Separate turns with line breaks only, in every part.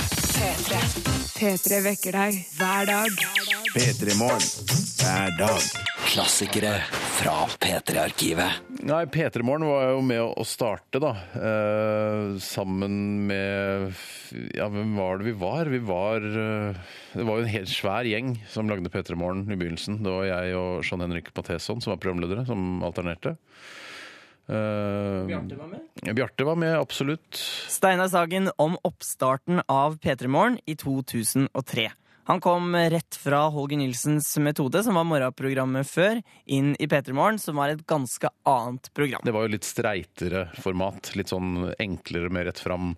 P3. P3 vekker deg hver dag.
P3 Morgen hver dag.
Klassikere fra P3-arkivet.
Nei, P3 Morgen var jo med å starte, da. Eh, sammen med Ja, hvem var det vi var? Vi var eh, Det var jo en helt svær gjeng som lagde P3 Morgen i begynnelsen. Det var jeg og Sean Henrik Matheson som var programledere, som alternerte. Eh, Bjarte var med? Bjarte var med, absolutt.
Steinar Sagen om oppstarten av P3 Morgen i 2003. Han kom rett fra Holger Nilsens metode, som var morgenprogrammet før, inn i P3 Morgen, som var et ganske annet program.
Det var jo litt streitere format. Litt sånn enklere, mer rett fram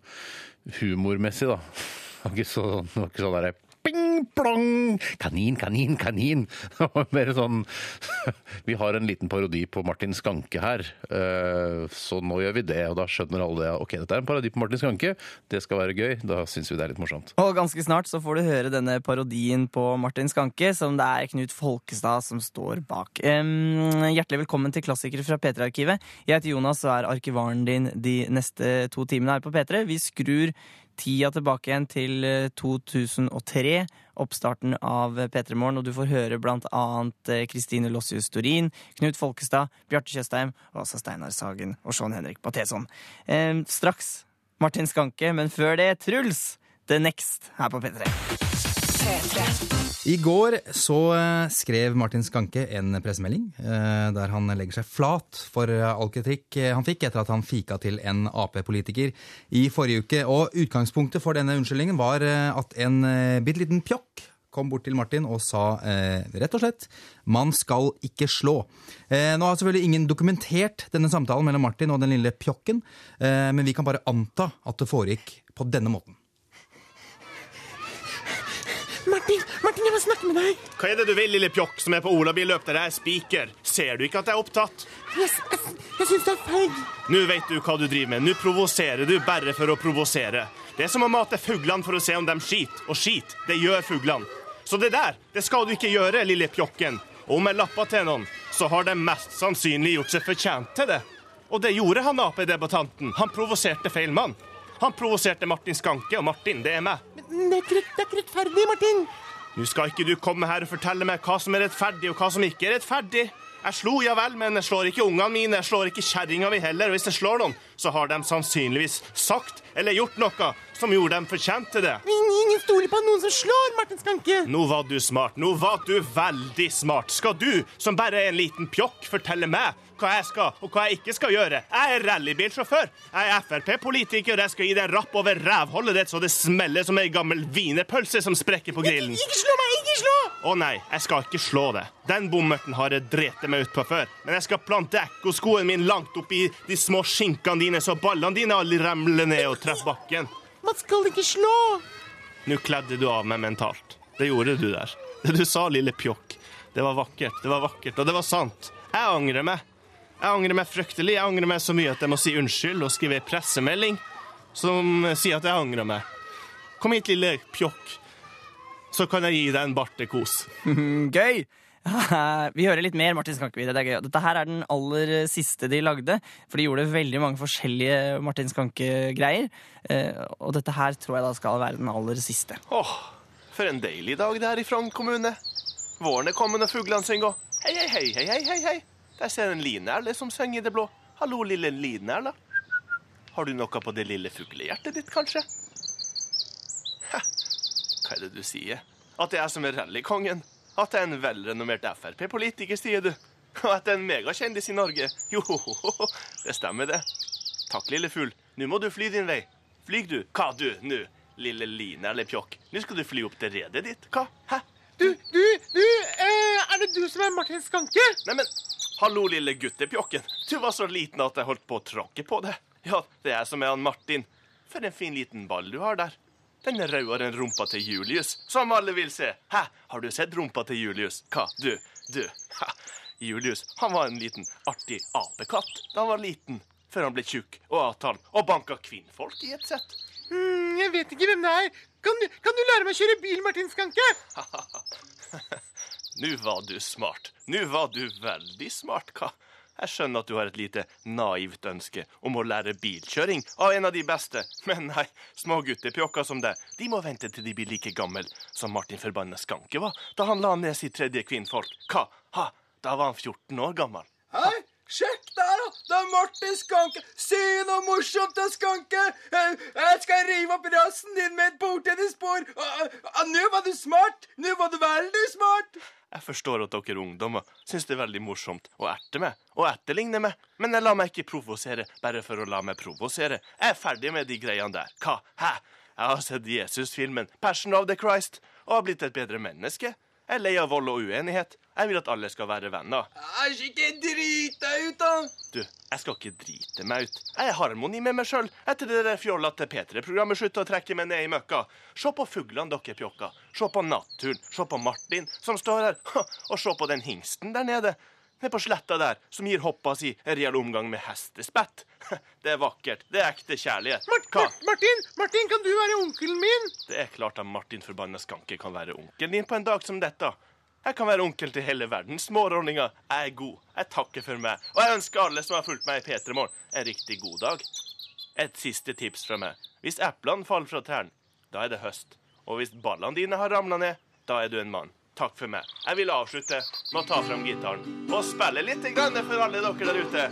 humormessig, da. Det var ikke så- det var ikke sånn derre Ping, plong! Kanin, kanin, kanin! Det var mer sånn Vi har en liten parodi på Martin Skanke her, eh, så nå gjør vi det. Og da skjønner alle det. Ok, dette er en parodi på Martin Skanke, det skal være gøy. Da syns vi det er litt morsomt.
Og ganske snart så får du høre denne parodien på Martin Skanke, som det er Knut Folkestad som står bak. Em, hjertelig velkommen til Klassikere fra P3-arkivet. Jeg heter Jonas og er arkivaren din de neste to timene her på P3. Vi skrur tida tilbake igjen til eh, 2003, oppstarten av eh, P3 Morgen, og du får høre blant annet eh, Kristine Lossius Torin, Knut Folkestad, Bjarte Tjøstheim, og også Steinar Sagen og Sean Henrik Bateson. Em, straks Martin Skanke, men før det Truls! The Next her på P3.
I går så eh, skrev Martin Skanke en pressemelding eh, der han legger seg flat for eh, all kritikk eh, han fikk etter at han fika til en Ap-politiker i forrige uke. Og utgangspunktet for denne unnskyldningen var eh, at en eh, bitte liten pjokk kom bort til Martin og sa eh, rett og slett 'man skal ikke slå'. Eh, nå har selvfølgelig ingen dokumentert denne samtalen mellom Martin og den lille pjokken, eh, men vi kan bare anta at det foregikk på denne måten.
Martin, Martin, jeg må snakke med deg.
Hva er det du vil, lille pjokk som er på olabilløp der jeg er spiker? Ser du ikke at jeg er opptatt?
Jeg, s- jeg, s- jeg syns du er feig.
Nå vet du hva du driver med. Nå provoserer du bare for å provosere. Det er som å mate fuglene for å se om de skiter, og skit, det gjør fuglene. Så det der, det skal du ikke gjøre, lille pjokken. Og om jeg lapper til noen, så har de mest sannsynlig gjort seg fortjent til det. Og det gjorde han Ap-debattanten. Han provoserte feil mann. Han provoserte Martin Skanke, og Martin, det er meg.
Men Det er ikke, rett- det er ikke rettferdig, Martin.
Nå skal ikke du komme her og fortelle meg hva som er rettferdig, og hva som ikke er rettferdig. Jeg slo, ja vel, men jeg slår ikke ungene mine, jeg slår ikke kjerringa mi heller. Og hvis jeg slår noen, så har de sannsynligvis sagt eller gjort noe som gjorde dem fortjent til det.
Ingen, ingen stoler på noen som slår Martin Skanke.
Nå var du smart. Nå var du veldig smart. Skal du, som bare er en liten pjokk, fortelle meg hva jeg skal og hva jeg ikke skal gjøre? Jeg er rallybilsjåfør. Jeg er Frp-politiker, og jeg skal gi deg en rapp over rævhullet ditt så det smeller som ei gammel wienerpølse som sprekker på grillen.
Ikke slå meg! Ikke slå!
Å nei, jeg skal ikke slå deg. Den bommerten har jeg drete meg ut på før. Men jeg skal plante ekkoskoen min langt oppi de små skinkene dine, så ballene dine alle ramler ned og treffer bakken.
Man skal ikke slå.
Nå kledde du av meg mentalt. Det gjorde du der. Det du sa, lille pjokk. Det var vakkert, det var vakkert, og det var sant. Jeg angrer meg. Jeg angrer meg fryktelig. Jeg angrer meg så mye at jeg må si unnskyld og skrive ei pressemelding som sier at jeg angrer meg. Kom hit, lille pjokk, så kan jeg gi deg en bartekos.
Gøy! Vi hører litt mer Martin Skanke-video. Det er gøy. Dette her er den aller siste de lagde, for de gjorde veldig mange forskjellige Martin Skanke-greier. Eh, Og dette her tror jeg da skal være den aller siste.
Åh, for en deilig dag det er i Frogn kommune. Våren er kommet og fuglene synger. Hei, hei, hei, hei, hei, hei, hei. Der ser jeg en linerle som synger i det blå. Hallo, lille linerle. Har du noe på det lille fuglehjertet ditt, kanskje? Hæ, hva er det du sier? At det er som er rallykongen? At det er en velrenommert Frp-politiker, sier du? Og at det er en megakjendis i Norge? Jo, det stemmer det. Takk, lille fugl. Nå må du fly din vei. Flyg du. Hva du, nå? Lille line eller pjokk. Nå skal du fly opp til redet ditt. Hva? Hæ?
Du, du, du! Eh, er det du som er Martin Skanke?
Neimen, hallo, lille guttepjokken. Du var så liten at jeg holdt på å tråkke på deg. Ja, det er jeg som er han Martin. For en fin liten ball du har der. Den er rødere enn rumpa til Julius, som alle vil se. Hæ, har du sett rumpa til Julius? Hva, du, du. Ha. Julius, han var en liten artig apekatt da han var liten. Før han ble tjukk og avtalen og banka kvinnfolk i et sett.
Hmm, jeg vet ikke hvem det er. Kan du, kan du lære meg å kjøre bil, Martin Skanke?
Nå var du smart. Nå var du veldig smart, hva? Jeg skjønner at du har et lite naivt ønske om å lære bilkjøring av en av de beste, men nei, små guttepjokker som deg, de må vente til de blir like gammel som Martin forbanna Skanke var da han la ned sitt tredje kvinnfolk. Hva? Ha? Da var han 14 år gammel.
Hei, sjekk der, da! Det er Martin Skanke! Si noe morsomt til Skanke! Eh, Jeg skal rive opp rassen din med et bordtennisbord! Ah, ah, ah, Nå var du smart! Nå var du veldig smart!
Jeg forstår at dere ungdommer syns det er veldig morsomt å erte meg og etterligne meg, men jeg lar meg ikke provosere bare for å la meg provosere. Jeg er ferdig med de greiene der. Hva? Hæ? Jeg har sett Jesus-filmen 'Passion of the Christ' og har blitt et bedre menneske. Jeg er lei av vold og uenighet. Jeg vil at alle skal være venner.
Er ikke drit deg ut, da!
Du, jeg skal ikke drite meg ut. Jeg er i harmoni med meg sjøl etter det der fjollete P3-programmet slutta å trekke meg ned i møkka. Se på fuglene, dere pjokker. Se på naturen. Se på Martin som står her. Ha, Og se på den hingsten der nede. Nede på sletta der, som gir hoppa si en reell omgang med hestespett. Det er vakkert. Det er ekte kjærlighet.
Mart
Hva?
Mart Martin, Martin, kan du være onkelen min?
Det er klart at Martin forbanna Skanke kan være onkelen din på en dag som dette. Jeg kan være onkel til hele verden. Smårollinger, jeg er god. Jeg takker for meg. Og jeg ønsker alle som har fulgt meg i P3 Morgen, en riktig god dag. Et siste tips fra meg. Hvis eplene faller fra trærne, da er det høst. Og hvis ballene dine har ramla ned, da er du en mann. Takk for meg. Jeg vil avslutte med å ta fram gitaren og spille litt grann for alle dere der ute.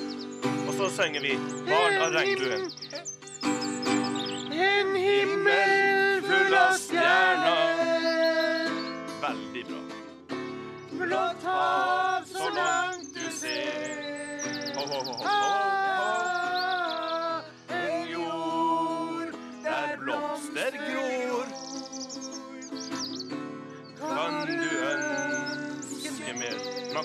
Og så synger vi 'Barn av regnbuen'.
En himmel full av stjerner,
Veldig bra.
blått hav så langt du ser.
Ho, ho, ho, ho,
Ah, en jord
Der blomster gror. Kan du ønske mer? Man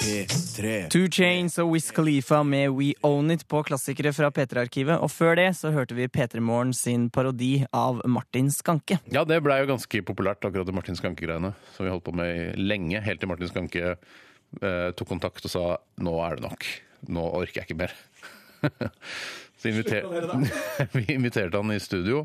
P3.
Two Chains og Wiz Khalifa med We Own It på klassikere fra P3-arkivet. Og før det så hørte vi P3 Morgen sin parodi av Martin Skanke.
Ja, det blei jo ganske populært, akkurat det Martin Skanke-greiene. Som vi holdt på med lenge, helt til Martin Skanke eh, tok kontakt og sa nå er det nok. Nå orker jeg ikke mer. Så inviter... vi inviterte han i studio.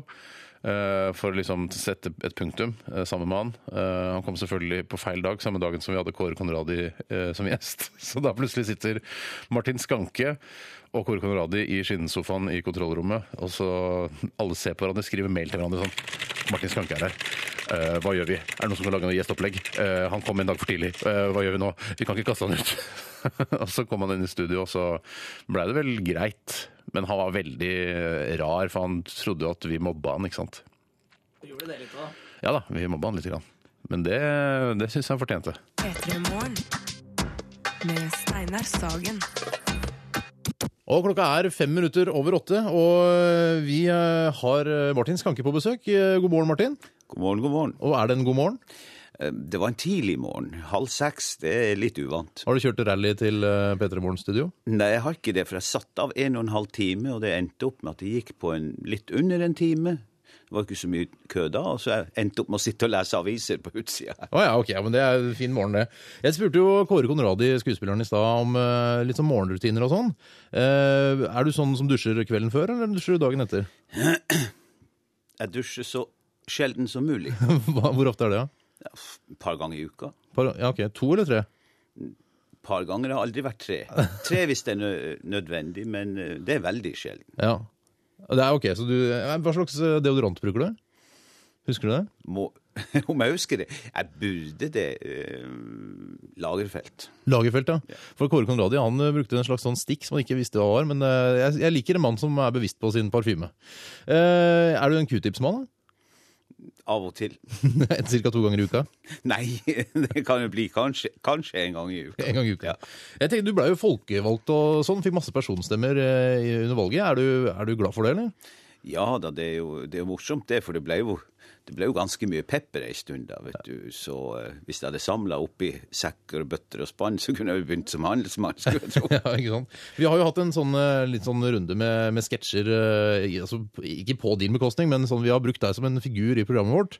eh, For å liksom sette et punktum eh, sammen med han. Eh, Han kom selvfølgelig på feil dag, samme dagen som vi hadde Kåre Conradi eh, som gjest. Så da plutselig sitter Martin Skanke og Kåre Conradi i skinnsofaen i kontrollrommet, og så alle ser på hverandre, skriver mail til hverandre sånn Martin Skanke er her. Eh, hva gjør vi? Er det noen som kan lage noe gjesteopplegg? Eh, han kom en dag for tidlig. Eh, hva gjør vi nå? Vi kan ikke kaste han ut. og så kom han inn i studio, og så blei det vel greit. Men han var veldig eh, rar, for han trodde jo at vi mobba han, ikke sant. Ja da, vi mobba han lite grann. Men det, det syns jeg han fortjente.
P3 Morgen. Med Steinar Sagen.
Og klokka er fem minutter over åtte, og vi eh, har Martin Skanke på besøk. Eh, God morgen, Martin.
God morgen, god morgen.
Og er det en god morgen?
Eh, Det var en tidlig morgen. Halv seks, det er litt uvant.
Har du kjørt rally til eh, P3 Morgen studio?
Nei, jeg har ikke det, for jeg satt av en og en halv time, og det endte opp med at det gikk på en, litt under en time. Det var ikke så mye kø da, og så jeg endte opp med å sitte og lese aviser på utsida her.
Å ja, ok, ja, men det er en fin morgen, det. Jeg spurte jo Kåre Conradi, skuespilleren, i stad om eh, litt sånn morgenrutiner og sånn. Eh, Er du sånn som dusjer kvelden før, eller dusjer du dagen etter?
Jeg dusjer så sjelden som mulig.
Hva- Hvor ofte er det, da?
Et par ganger i uka.
Par, ja, ok, To eller tre?
Et par ganger har aldri vært tre. Tre hvis det er nø- nødvendig, men eh, det er veldig sjelden.
Ja. Det er ok, så du eh, Hva slags eh, deodorant bruker du? Husker du det?
Må, om jeg husker det. Jeg burde det. eh, Lagerfeld.
Lagerfeld, ja. For Kåre Conradi han eh, brukte en slags sånn stikk som han ikke visste hva var. Men eh, jeg, jeg liker en mann som er bevisst på sin parfyme. Eh, er du en q-tips-mann? da?
Av og til.
Cirka to ganger i uka?
Nei, det kan jo bli kanskje, kanskje en gang i uka.
En gang i uka. Jeg tenkte, Du blei jo folkevalgt og sånn, fikk masse personstemmer eh, i- under valget. Er du, er du glad for det, eller?
Ja da, det er jo, det er jo morsomt det, for det ble jo, det ble jo ganske mye pepper ei stund da, vet du. Så eh, hvis jeg hadde samla oppi sekker og bøtter og spann, så kunne jeg jo begynt som handelsmann, skulle jeg tro.
ja, ikke sant? Vi har jo hatt en sånn, eh, litt sånn runde med, med sketsjer, eh, i- altså, ikke på din bekostning, men sånn, vi har brukt deg som en figur i programmet vårt,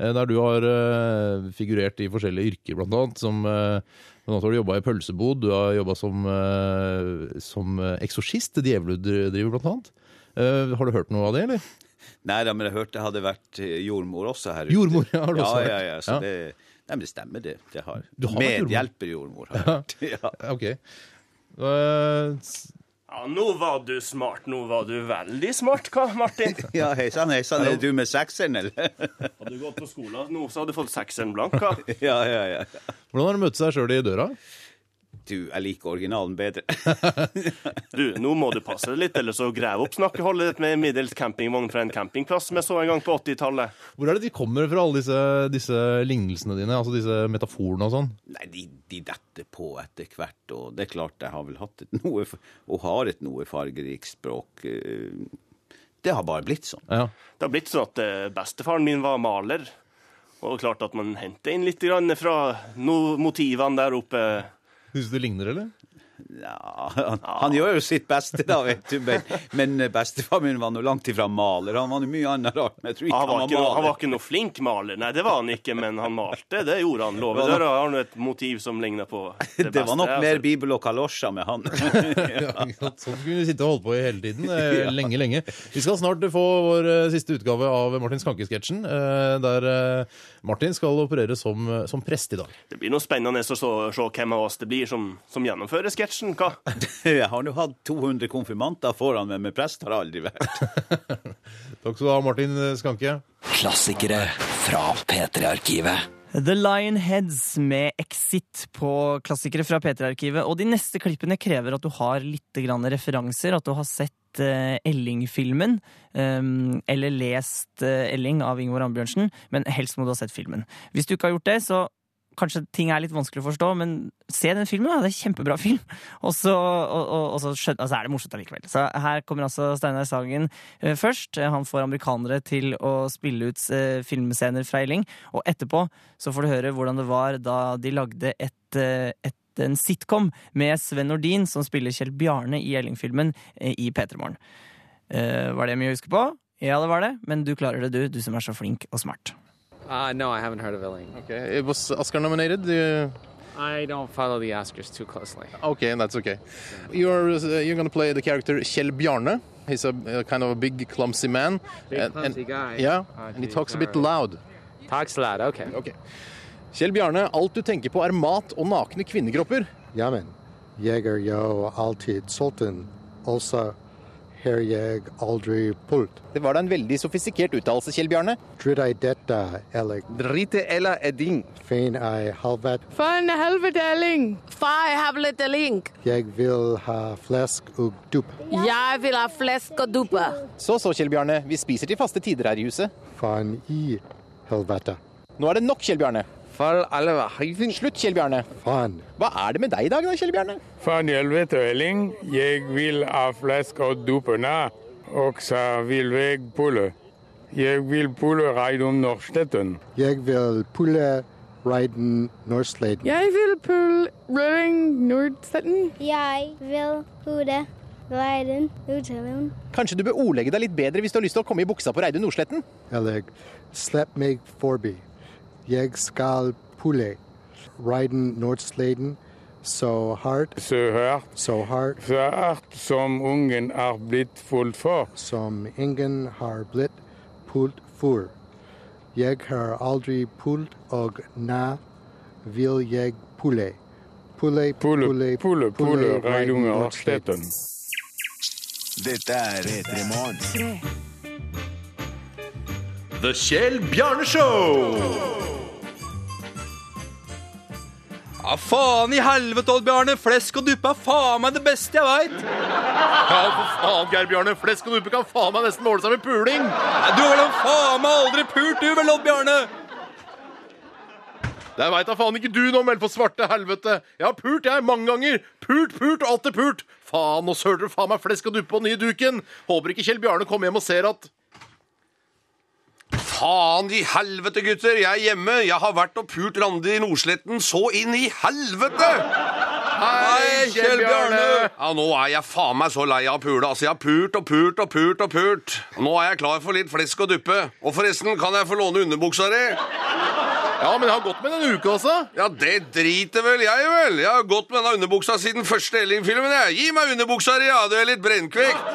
eh, der du har eh, figurert i forskjellige yrker, blant annet, som... eh, Blant annet har du jobbet i pølsebod, du har jobbet som, eh, som eh, eksorsist, djeveludriver blant annet. Eh, Har du hørt noe av det, eller?
Nei da, men jeg hørte jeg hadde vært eh, jordmor også her ute.
Jordmor, ja, har du
ja,
også vært.
Ja, ja, så
Ja.
Det, nei, men det stemmer, det. det har.
Du har vært jordmor?
Medhjelperjordmor har jeg vært. Ja.
Ok. Eh, s-
Ja, nå var du smart. Nå var du veldig smart, hva, Martin?
Ja, hei sann, hei sann. Er det du med sekseren, eller?
Hadde du gått på skolen nå, så hadde du fått sekseren blank, hva?
Ja, ja, ja.
Hvordan har du møtt seg sjøl i døra?
Du, jeg liker originalen bedre.
Du, nå må du passe deg litt, ellers så grav opp snakkeholdet ditt med en middels campingvogn fra en campingplass vi så en gang på 80-tallet.
Hvor er det de kommer fra, alle disse, disse lignelsene dine? Altså disse metaforene og sånn?
Nei, de, de detter på etter hvert, og det er klart jeg har vel hatt et noe, og har et noe fargerikt språk. eh, Det har bare blitt sånn.
Det har blitt sånn at eh, bestefaren min var maler, og klart at man henter inn litt grann fra no motivene der oppe.
Syns du det ligner, eller?
Ja, han, han gjør jo sitt beste, da, vet du, men, men eh, bestefar min var nå langt ifra maler. Han var nå mye annet rart, men jeg tror ikke
Ja, Han
han
var,
var
ikke,
maler.
han var ikke noe flink maler, nei, det var han ikke, men han malte, det gjorde han, lover. Der har han et motiv som ligner på det beste.
Det var nok
jeg har
mer
sett.
bibel og kalosjer med han.
Ja, ikke sant? Sånn kunne vi sitte og holde på i hele tiden. eh,
Ja.
Lenge, lenge. Vi skal snart få vår eh, siste utgave av Martin Skanke-sketsjen, eh, der eh, Martin skal operere som, eh, som prest i dag.
Det blir noe spennende å se, se hvem av oss det blir som, som gjennomfører sketsjen, hva?
Jeg har nå hatt 200 konfirmanter foran meg, men prest har jeg aldri vært.
Takk skal du ha, Martin Skanke.
Klassikere fra P3-arkivet.
The Lionheads med Exit på klassikere fra P3-arkivet. Og de neste klippene krever at du har litt grann referanser, at du har sett eh, Elling-filmen. ehm, eller lest eh, Elling av Ingvar Ambjørnsen, men helst må du ha sett filmen. Hvis du ikke har gjort det, så kanskje ting er litt vanskelig å forstå, men se den filmen, da. Det er en kjempebra film. Og så, og, og, og så, skjøn, altså er det morsomt allikevel. Så her kommer altså Steinar Sagen eh, først. Eh, Han får amerikanere til å spille ut eh, filmscener fra Elling. Og etterpå så får du høre hvordan det var da de lagde et, eh, et en sitcom med Sven Nordin, som spiller Kjell Bjarne i Elling-filmen eh, i P3 Morgen. Eh, Var det mye å huske på? Ja, det var det, men du klarer det, du. Du som er så flink og smart.
Uh, no, I haven't heard of Illing.
Okay, it was Oscar nominated. Uh,
I don't follow the Oscars too closely.
Okay, that's okay. You're uh, you're gonna play the character Kjell Bjarne. He's a, a kind of a big clumsy man.
Big clumsy guy.
Yeah,
Ah,
and he
geez,
talks a bit
all right.
loud.
Talks loud, okay.
Okay. Kjell Bjarne, alt du tenker på er mat og nakne kvinnekropper.
Jamen, Jeger, Yo, Altid, Sultan, Olsa, Herjeg, Aldri, Pult.
Det var da en veldig sofistikert uttalelse, Kjell Bjarne.
Dridei detta, Ellig. Drite ella eding. Fein ei halvet.
Fan helvete Elling! Far helvete Elling!
Jeg vil ha flesk og dup.
Jeg vil ha flesk og duppe.
Så så, Kjell Bjarne, vi spiser til faste tider her i huset.
Fan i helvete.
Nå er det nok, Kjell Bjarne. Slutt, Kjell Bjarne.
Fan.
Hva er det med deg i dag da, Kjell Bjarne?
Faen helvete, Elling. Jeg vil ha flaske og dupene. Og så vil jeg pulle. Jeg vil pulle Reidun Norstetten.
Jeg vil pulle, reiden, norsleden.
Jeg vil pulle Røding Nordsetten.
Jeg vil hode verden utenom.
Kanskje du bør ordlegge deg litt bedre hvis du har lyst til å komme i buksa på Reidun Nordsletten?
Ellig. Slepp meg forbi. Jeg skal pulle, reiden, norsleden, så hardt.
Så hardt.
Så hardt.
Så hardt som ungen er blitt fullt for.
Som ingen har blitt pult for. Jeg har aldri pult, og na vil jeg pulle. Pulle, pulle, pulle,
Pulle, pulle Reidun
Reidun
Norstetten.
Dette er P3 Morgen.
The Kjell Bjarne Show!
Ja, faen i helvete, Odd Bjarne. Flesk og duppe er faen meg det beste jeg veit.
Ja, for faen, Geir Bjarne. Flesk og duppe kan faen meg nesten måle seg med puling.
Du har da faen meg aldri pult, du vel, Odd Bjarne?
Det veit da faen ikke du noe om, eller for svarte helvete! Jeg har pult, jeg, mange ganger! Pult, pult, alt er pult! Faen, nå søler dere faen meg flesk og duppe på den nye duken! Håper ikke Kjell Bjarne kommer hjem og ser at
Faen i helvete, gutter! Jeg er hjemme! Jeg har vært og pult Randi i Nordsletten så inn i helvete! Hei,
Kjell Bjarne!
Ja, nå er jeg faen meg så lei av å pule. Altså, jeg har pult og pult og pult og pult. Nå er jeg klar for litt flesk og duppe. Og forresten, kan jeg få låne underbuksa di? Ja, men jeg har gått med den uke, altså. Ja, det driter vel jeg i, vel. Jeg har gått med denne underbuksa siden første Elling-filmen, jeg. Gi meg underbuksa di, ja. Du er litt brennkvekt.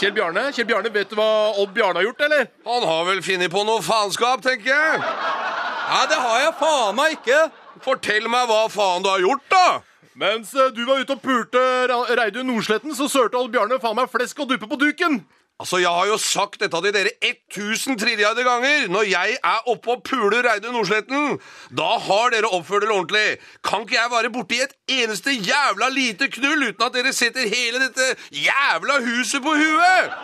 Kjell Bjarne, Kjell Bjarne, vet du hva Odd Bjarne har gjort, eller? Han har vel funnet på noe faenskap, tenker jeg. Nei, det har jeg faen meg ikke. Fortell meg hva faen du har gjort, da.
Mens eh, du var ute og pulte Ra- Reidun Nordsletten, så sørte Old Bjarne faen meg flesk og duppe på duken!
Altså, Jeg har jo sagt dette til dere 1000 trilliarder ganger! Når jeg er oppe og puler Reidun Nordsletten, da har dere oppført dere ordentlig! Kan ikke jeg være borti et eneste jævla lite knull uten at dere setter hele dette jævla huset på huet?!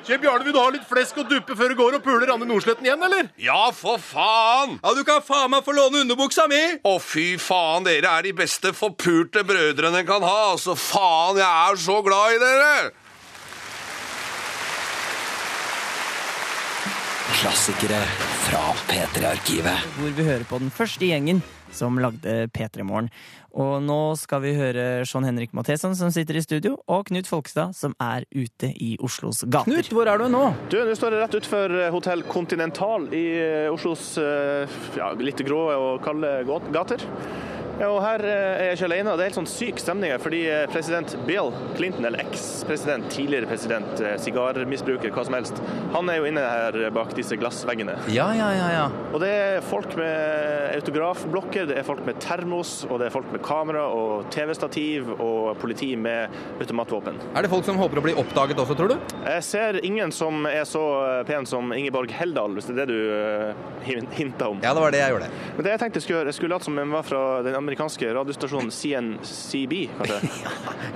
Kjell Bjarne, vil du ha litt flesk og duppe før du går og puler Randi Nordsletten igjen, eller?
Ja, for faen! Ja, Du kan faen meg få låne underbuksa mi! Å, fy faen, dere er de beste forpulte brødrene en kan ha. Altså, faen, jeg er så glad i dere!
Klassikere fra P3-arkivet.
hvor vi hører på den første gjengen som lagde P3 Morgen. Og nå skal vi høre Sean Henrik Matheson som sitter i studio, og Knut Folkestad som er ute i Oslos gater. Knut, hvor er du nå?
Du, nå står jeg rett utenfor Hotell Continental i eh, Oslos eh, ja, litt grå og kalde gå- gater. Ja, Og her eh, er jeg ikke alene. Det er helt sånn syk stemning her, fordi eh, president Bill Clinton, eller eks-president, tidligere president, eh, sigarmisbruker, hva som helst, han er jo inne her eh, bak disse glassveggene.
Ja, ja, ja, ja.
Og det er folk med autografblokker, det er folk med termos, og det er folk med kamera og TV-stativ og politi med automatvåpen.
Er det folk som håper å bli oppdaget også, tror du?
Jeg ser ingen som er så eh, pen som Ingeborg Heldal, hvis det er det du eh, hin- hinta om.
Ja, det var det jeg gjorde.
Men det jeg tenkte jeg skulle gjøre, jeg skulle late som jeg var fra den amerikanske radiostasjonen CNCB, kanskje.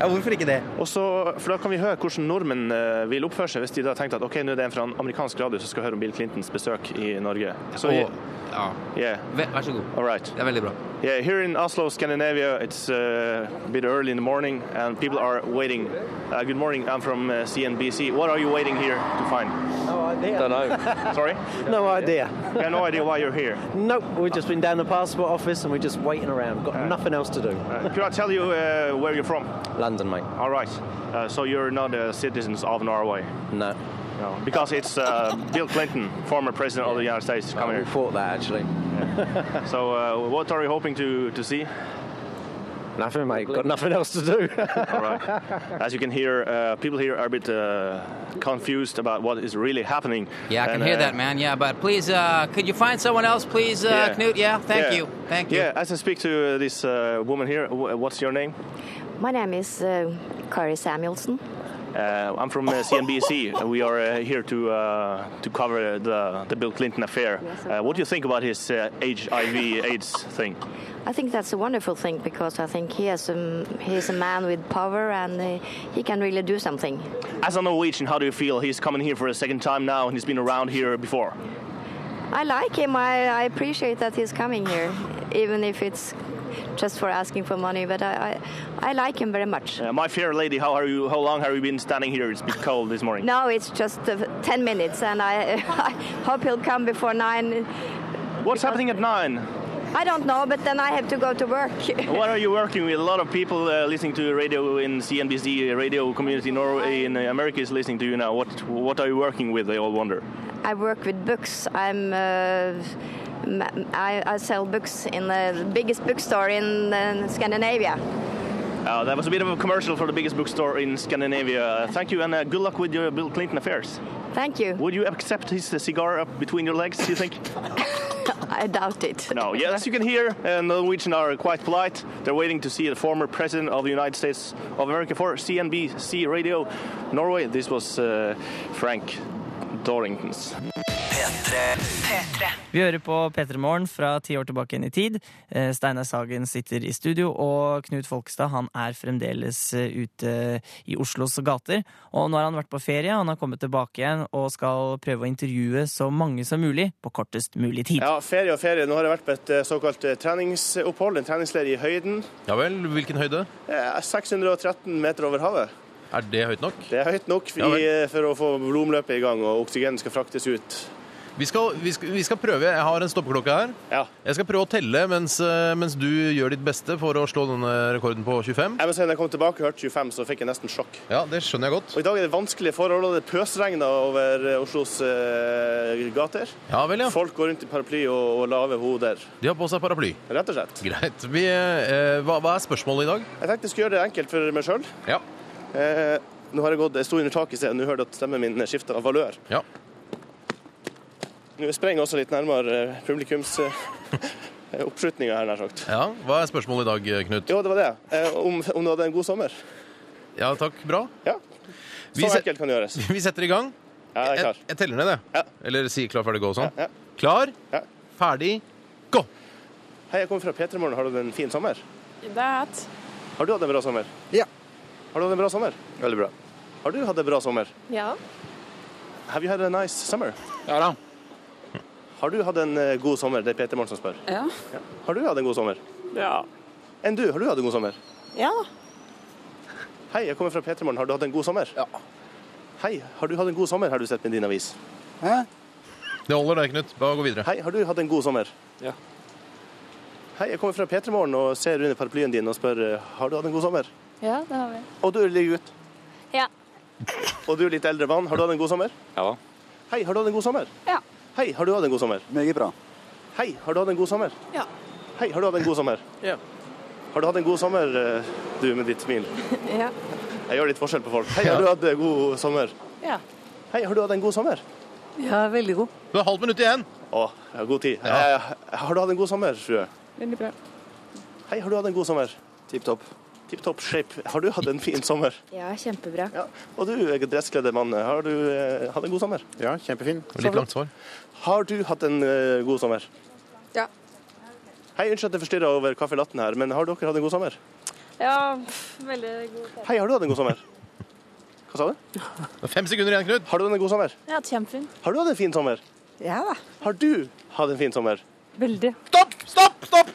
ja, hvorfor ikke det?
Og så, for da kan vi høre hvordan nordmenn eh, vil oppføre seg hvis de da tenkte at ok, nå er det en fra en amerikansk radio som skal høre om Bill Clintons besøk i Norge. Så,
Og-
yeah.
Vær så god.
All right.
Det er veldig bra.
Yeah, here in Oslo, Scandinavia, it's uh, a bit early in the morning and people are waiting. Uh, good morning, I'm from uh, CNBC. What are you waiting here to find? No idea. Don't know. Sorry?
No idea.
You have no idea why you're here.
Nope, we've just been down the passport office and we're just waiting around. Got nothing else to do.
Uh, could I tell you uh, where you're from?
London, mate.
All right. Uh, so you're not uh, citizens of Norway?
No.
No, because it's uh, Bill Clinton, former president of the United States, coming here. We
thought that actually.
so, uh, what are you hoping to, to see?
Nothing, mate. Got nothing else to do.
All right. As you can hear, uh, people here are a bit uh, confused about what is really happening. uh,
Yeah, I can hear that, man. Yeah, but please, uh, could you find someone else, please, uh,
Yeah.
Knut? Yeah, thank you. Thank you.
Yeah, as I speak to uh, this uh, woman here, wh- what's your name?
My name is uh, Kari Samuelson.
Uh, I'm from uh, CNBC. Uh, we are uh, here to uh, to cover the the Bill Clinton affair. Uh, what do you think about his uh, HIV/AIDS thing?
I think that's a wonderful thing because I think he has a, he is a man with power and uh, he can really do something.
As a Norwegian, how do you feel? He's coming here for a second time now, and he's been around here before.
I like him. I, I appreciate that he's coming here, even if it's just for asking for money. But I, I, I like him very much.
Uh, my fair lady, how are you? How long have you been standing here? It's been cold this morning.
No, it's just uh, 10 minutes and I, I hope he'll come before 9.
What's happening at nine?
I don't know, but then I have to go to work.
what are you working with? A lot of people uh, listening to radio in CNBC, uh, radio community in Norway, in uh, America is listening to you now. What what are you working with? They all wonder.
I work with books. I'm uh, ma- I, I sell books in the biggest bookstore in uh, Scandinavia.
Uh, that was a bit of a commercial for the biggest bookstore in Scandinavia. Uh, thank you, and uh, good luck with your Bill Clinton affairs.
Thank you.
Would you accept his uh, cigar up between your legs? Do you think?
I doubt it.
No. Yeah, as you can hear, uh, Norwegian are quite polite. They're waiting to see the former president of the United States of America for CNBC Radio Norway. This was uh, Frank Dorringtons.
P3.
Vi hører på P3 Morgen fra ti år tilbake inn i tid. Eh, Steinar Sagen sitter i studio, og Knut Folkestad han er fremdeles eh, ute i Oslos gater. Og nå har han vært på ferie, han har kommet tilbake igjen og skal prøve å intervjue så mange som mulig på kortest mulig tid.
Ja, ferie og ferie. Nå har jeg vært på et eh, såkalt eh, treningsopphold, en treningsleir i høyden.
Ja vel, hvilken høyde?
Eh, 613 meter over havet.
Er det høyt nok?
Det er høyt nok vi,
Ja vel.
eh, for å få blodomløpet i gang, og oksygen skal fraktes ut.
Vi skal, vi, skal, vi skal prøve. Jeg har en stoppeklokke her. Jeg skal prøve å telle mens, eh, mens du gjør ditt beste for å slå denne rekorden på 25.
Jeg må si, når jeg kom tilbake og hørte 25, så fikk jeg nesten sjokk.
Ja, det skjønner jeg godt.
Og I dag er det vanskelige forhold, og det pøsregner over eh, Oslos eh, gater. Folk går rundt i paraply og, og lave hoder.
De har på seg paraply.
Rett og slett.
Greit. Vi, eh, hva, hva er spørsmålet i dag?
Jeg tenkte jeg skulle gjøre det enkelt for meg sjøl.
Ja.
Eh, nå har jeg gått Jeg sto under taket i sted, og nå hørte jeg at stemmen min skifta valør.
Ja.
Nå sprenger jeg også litt nærmere eh, publikums eh, oppslutninga her, nær sagt.
Ja, Hva er spørsmålet i dag, Knut?
Jo, det var det. Eh, om, om du hadde en god sommer?
Ja, takk. Bra.
Ja. Så
Vi se-
enkelt kan det gjøres.
Vi setter i gang.
Ja, jeg er klar.
Jeg, jeg teller ned, jeg. Eller sier klar, ferdig, gå og sånn. Klar, ferdig, gå!
Hei, jeg kommer fra P3morgen. Har du hatt en fin sommer?
That.
Har du hatt en bra sommer? Ja. Har du hatt en bra sommer? Veldig bra. Har du hatt en bra sommer?
Yeah.
Have you had a nice summer?
Ja da.
Har du hatt en eh, god sommer? Det er Peter Morn som spør.
Ja.
Har du hatt en god sommer?
Ja.
Enn du, har du hatt en god sommer?
Ja da.
Hei, jeg kommer fra Peter Morn. Har du hatt en god sommer? Ja. Hei, har du hatt en god sommer? Har du sett med din avis?
Hæ?
Det holder det, Knut. Bare gå videre.
Hei, har du hatt en god sommer?
Ja.
Hei, jeg kommer fra Peter Morn og ser under paraplyen din og spør eh, har du hatt en god sommer?
Ja, det har vi.
Og du er lille gutt.
Ja.
Og du er litt eldre mann. Har du hatt en god sommer?
Ja.
Hei, har du hatt en god sommer?
Ja.
Hei, har du hatt en god sommer? Meget bra. Hei, har du hatt en god sommer?
Ja.
Hei, har du hatt en god sommer?
Ja.
Har du hatt en god sommer, eh, du med ditt smil?
Ja.
Jeg gjør litt forskjell på folk. Hei, har du hatt en god sommer?
Ja.
Hei, har du hatt en god sommer?
Ja, veldig god.
Du har halvt minutt igjen.
Å, jeg har god tid. Eh, har du hatt en god sommer, frue?
Veldig bra.
Hei, har du hatt en god sommer? Tipp topp. Tipp topp shape. Har du hatt en fin sommer?
Ja, kjempebra.
Og du, eh, dresskledde mann, har du eh, hatt en god sommer? Ja, kjempefin.
Litt langt svar.
Har du hatt en eh, god sommer?
Ja.
Hei, unnskyld at jeg forstyrrer over kaffe latten her, men har dere hatt en god sommer?
Ja, pff, veldig god.
Hei, har du hatt en god sommer? Hva sa du?
Fem sekunder igjen, Knut.
Har du hatt en god sommer?
Ja, kjempefin.
Har du hatt en fin sommer?
Ja da.
Har du hatt en fin sommer?
Veldig.
Stopp, stopp, stopp!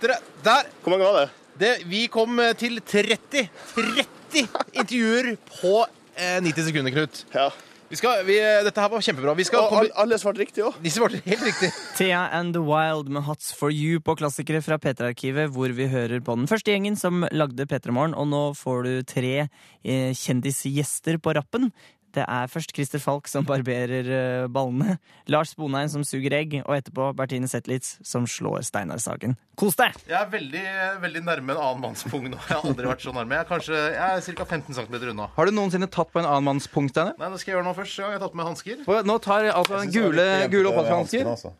Dere, der.
Hvor mange var det?
det? Vi kom eh, til 30. 30 intervjuer på eh, 90 sekunder, Knut.
Ja.
Vi skal, vi, eh, dette her var kjempebra. Vi skal
Og
komme-
al- alle svarte riktig òg.
De svarte helt riktig.
Thea and the Wild med Hots for you på klassikere fra P3-arkivet, hvor vi hører på den første gjengen som lagde P3morgen, og nå får du tre eh, kjendisgjester på rappen. Det er først Christer Falk som barberer eh, ballene, Lars Bonheim som suger egg, og etterpå Bertine Zetlitz som slår Steinar Sagen. Kos deg!
Jeg er veldig, veldig nærme en annen manns pung nå. Jeg har aldri vært så nærme. Jeg er kanskje jeg er ca. 15 cm unna.
Har du noensinne tatt på en annen manns punkt, Steinar?
Nei, det skal jeg gjøre nå først. Ja, jeg har tatt med hansker.
Og Nå tar altså den gule, gule oppvaskhansker
altså.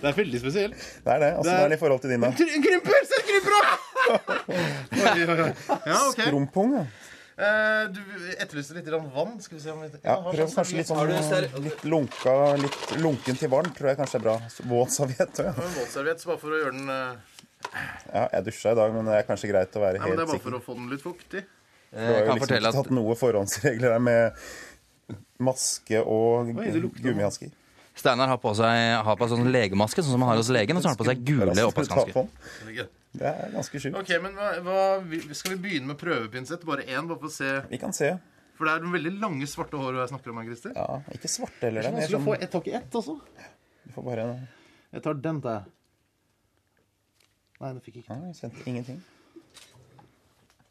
Det er veldig spesielt.
Det er det. Åssen
Det er-
er den i forhold til din, da?
Krymper! Se, krymper! Ja, ok.
Skrumpung, ja.
Eh, Du etterlyste litt grann vann. Skal vi se om vi
ja.
har
Prøv
sånn serviett.
kanskje litt
Har
sånn
du serv-
litt lunka, litt lunken til varm, tror jeg kanskje er bra. Så Våt serviett.
har du en våtserviett så bare for å gjøre den eh,
Ja, jeg dusja i dag, men det er kanskje greit å være
Nei, men Det
helt
er bare
sikker.
for å få den litt
For
fuktig.
Eh,
Du har jo liksom ikke tatt noen forhåndsregler der med maske og
Oi, det lukter-
gummihansker.
Steinar har på seg har på seg sånn legemaske, sånn som han har hos legen, og så har han på seg gule oppvaskhansker.
altså, Det er ganske sjukt.
Eh, Ok, men hva, hva, vi- Skal vi begynne med prøvepinsett? Bare én, bare for å se
Vi kan se.
For det er den veldig lange svarte håret jeg snakker om her, Christer.
Ja, ikke svarte heller.
Det er så
mer
vanskelig å
sånn-
få ett tak i ett, altså.
Du får bare
Jeg tar den, tar jeg. Nei, det fikk jeg ikke.
Nei, jeg kjente ingenting.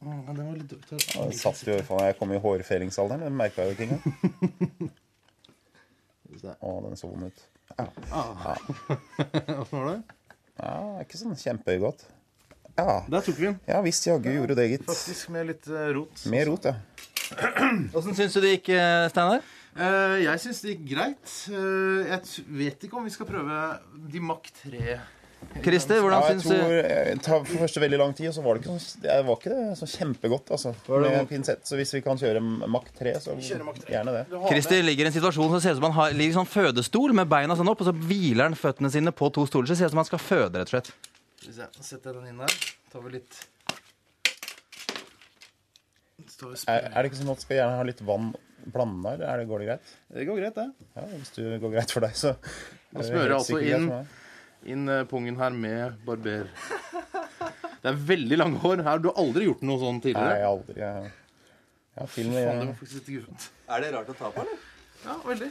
Å, Mm, den var litt dårlig. Jeg
Ja,
tar-
Det satt jo for meg. Jeg kom i hårfellingsalderen, men merka jo ikke engang. Å, den så vond ut. Ja.
Ah. Åssen var det?
Ja, det er ikke sånn kjempegodt. Ja.
Der tok vi den.
Ja visst, jaggu gjorde det, gitt.
Faktisk med litt eh, rot.
Mer rot, ja.
Åssen syns du det gikk, eh, Steinar?
Eh, jeg syns det gikk greit. Eh, jeg t- vet ikke om vi skal prøve de Mac 3
Christer, hvordan
ja, jeg
syns
tror,
du
Det tar for det første veldig lang tid, og så var det ikke, sånn- det var ikke det så kjempegodt altså,
det
med
vondt?
pinsett. Så hvis vi kan kjøre Mack 3, så gjerne det.
Christer ligger i en situasjon som ser ut som han har, ligger i sånn fødestol med beina sånn opp, og så hviler han føttene sine på to stoler. Så det ser ut som han skal føde, rett og slett.
Skal vi se, nå setter jeg den inn der. Tar vi litt Står og
Er, er det ikke sånn at du skal gjerne ha litt vann blanda, eller er det, går det greit?
Det går greit, det.
Ja, Hvis det går greit for deg, så er
Man
det
smører
helt
altså
sikkert greit
inn,
for meg.
inn eh, pungen her med barber. Det er veldig lange hår her. Du har aldri gjort noe sånn tidligere?
Nei, aldri. Jeg, jeg har til og
Faen, det var
med
faktisk litt grusomt. Er det rart å ta på, eller? Ja, veldig.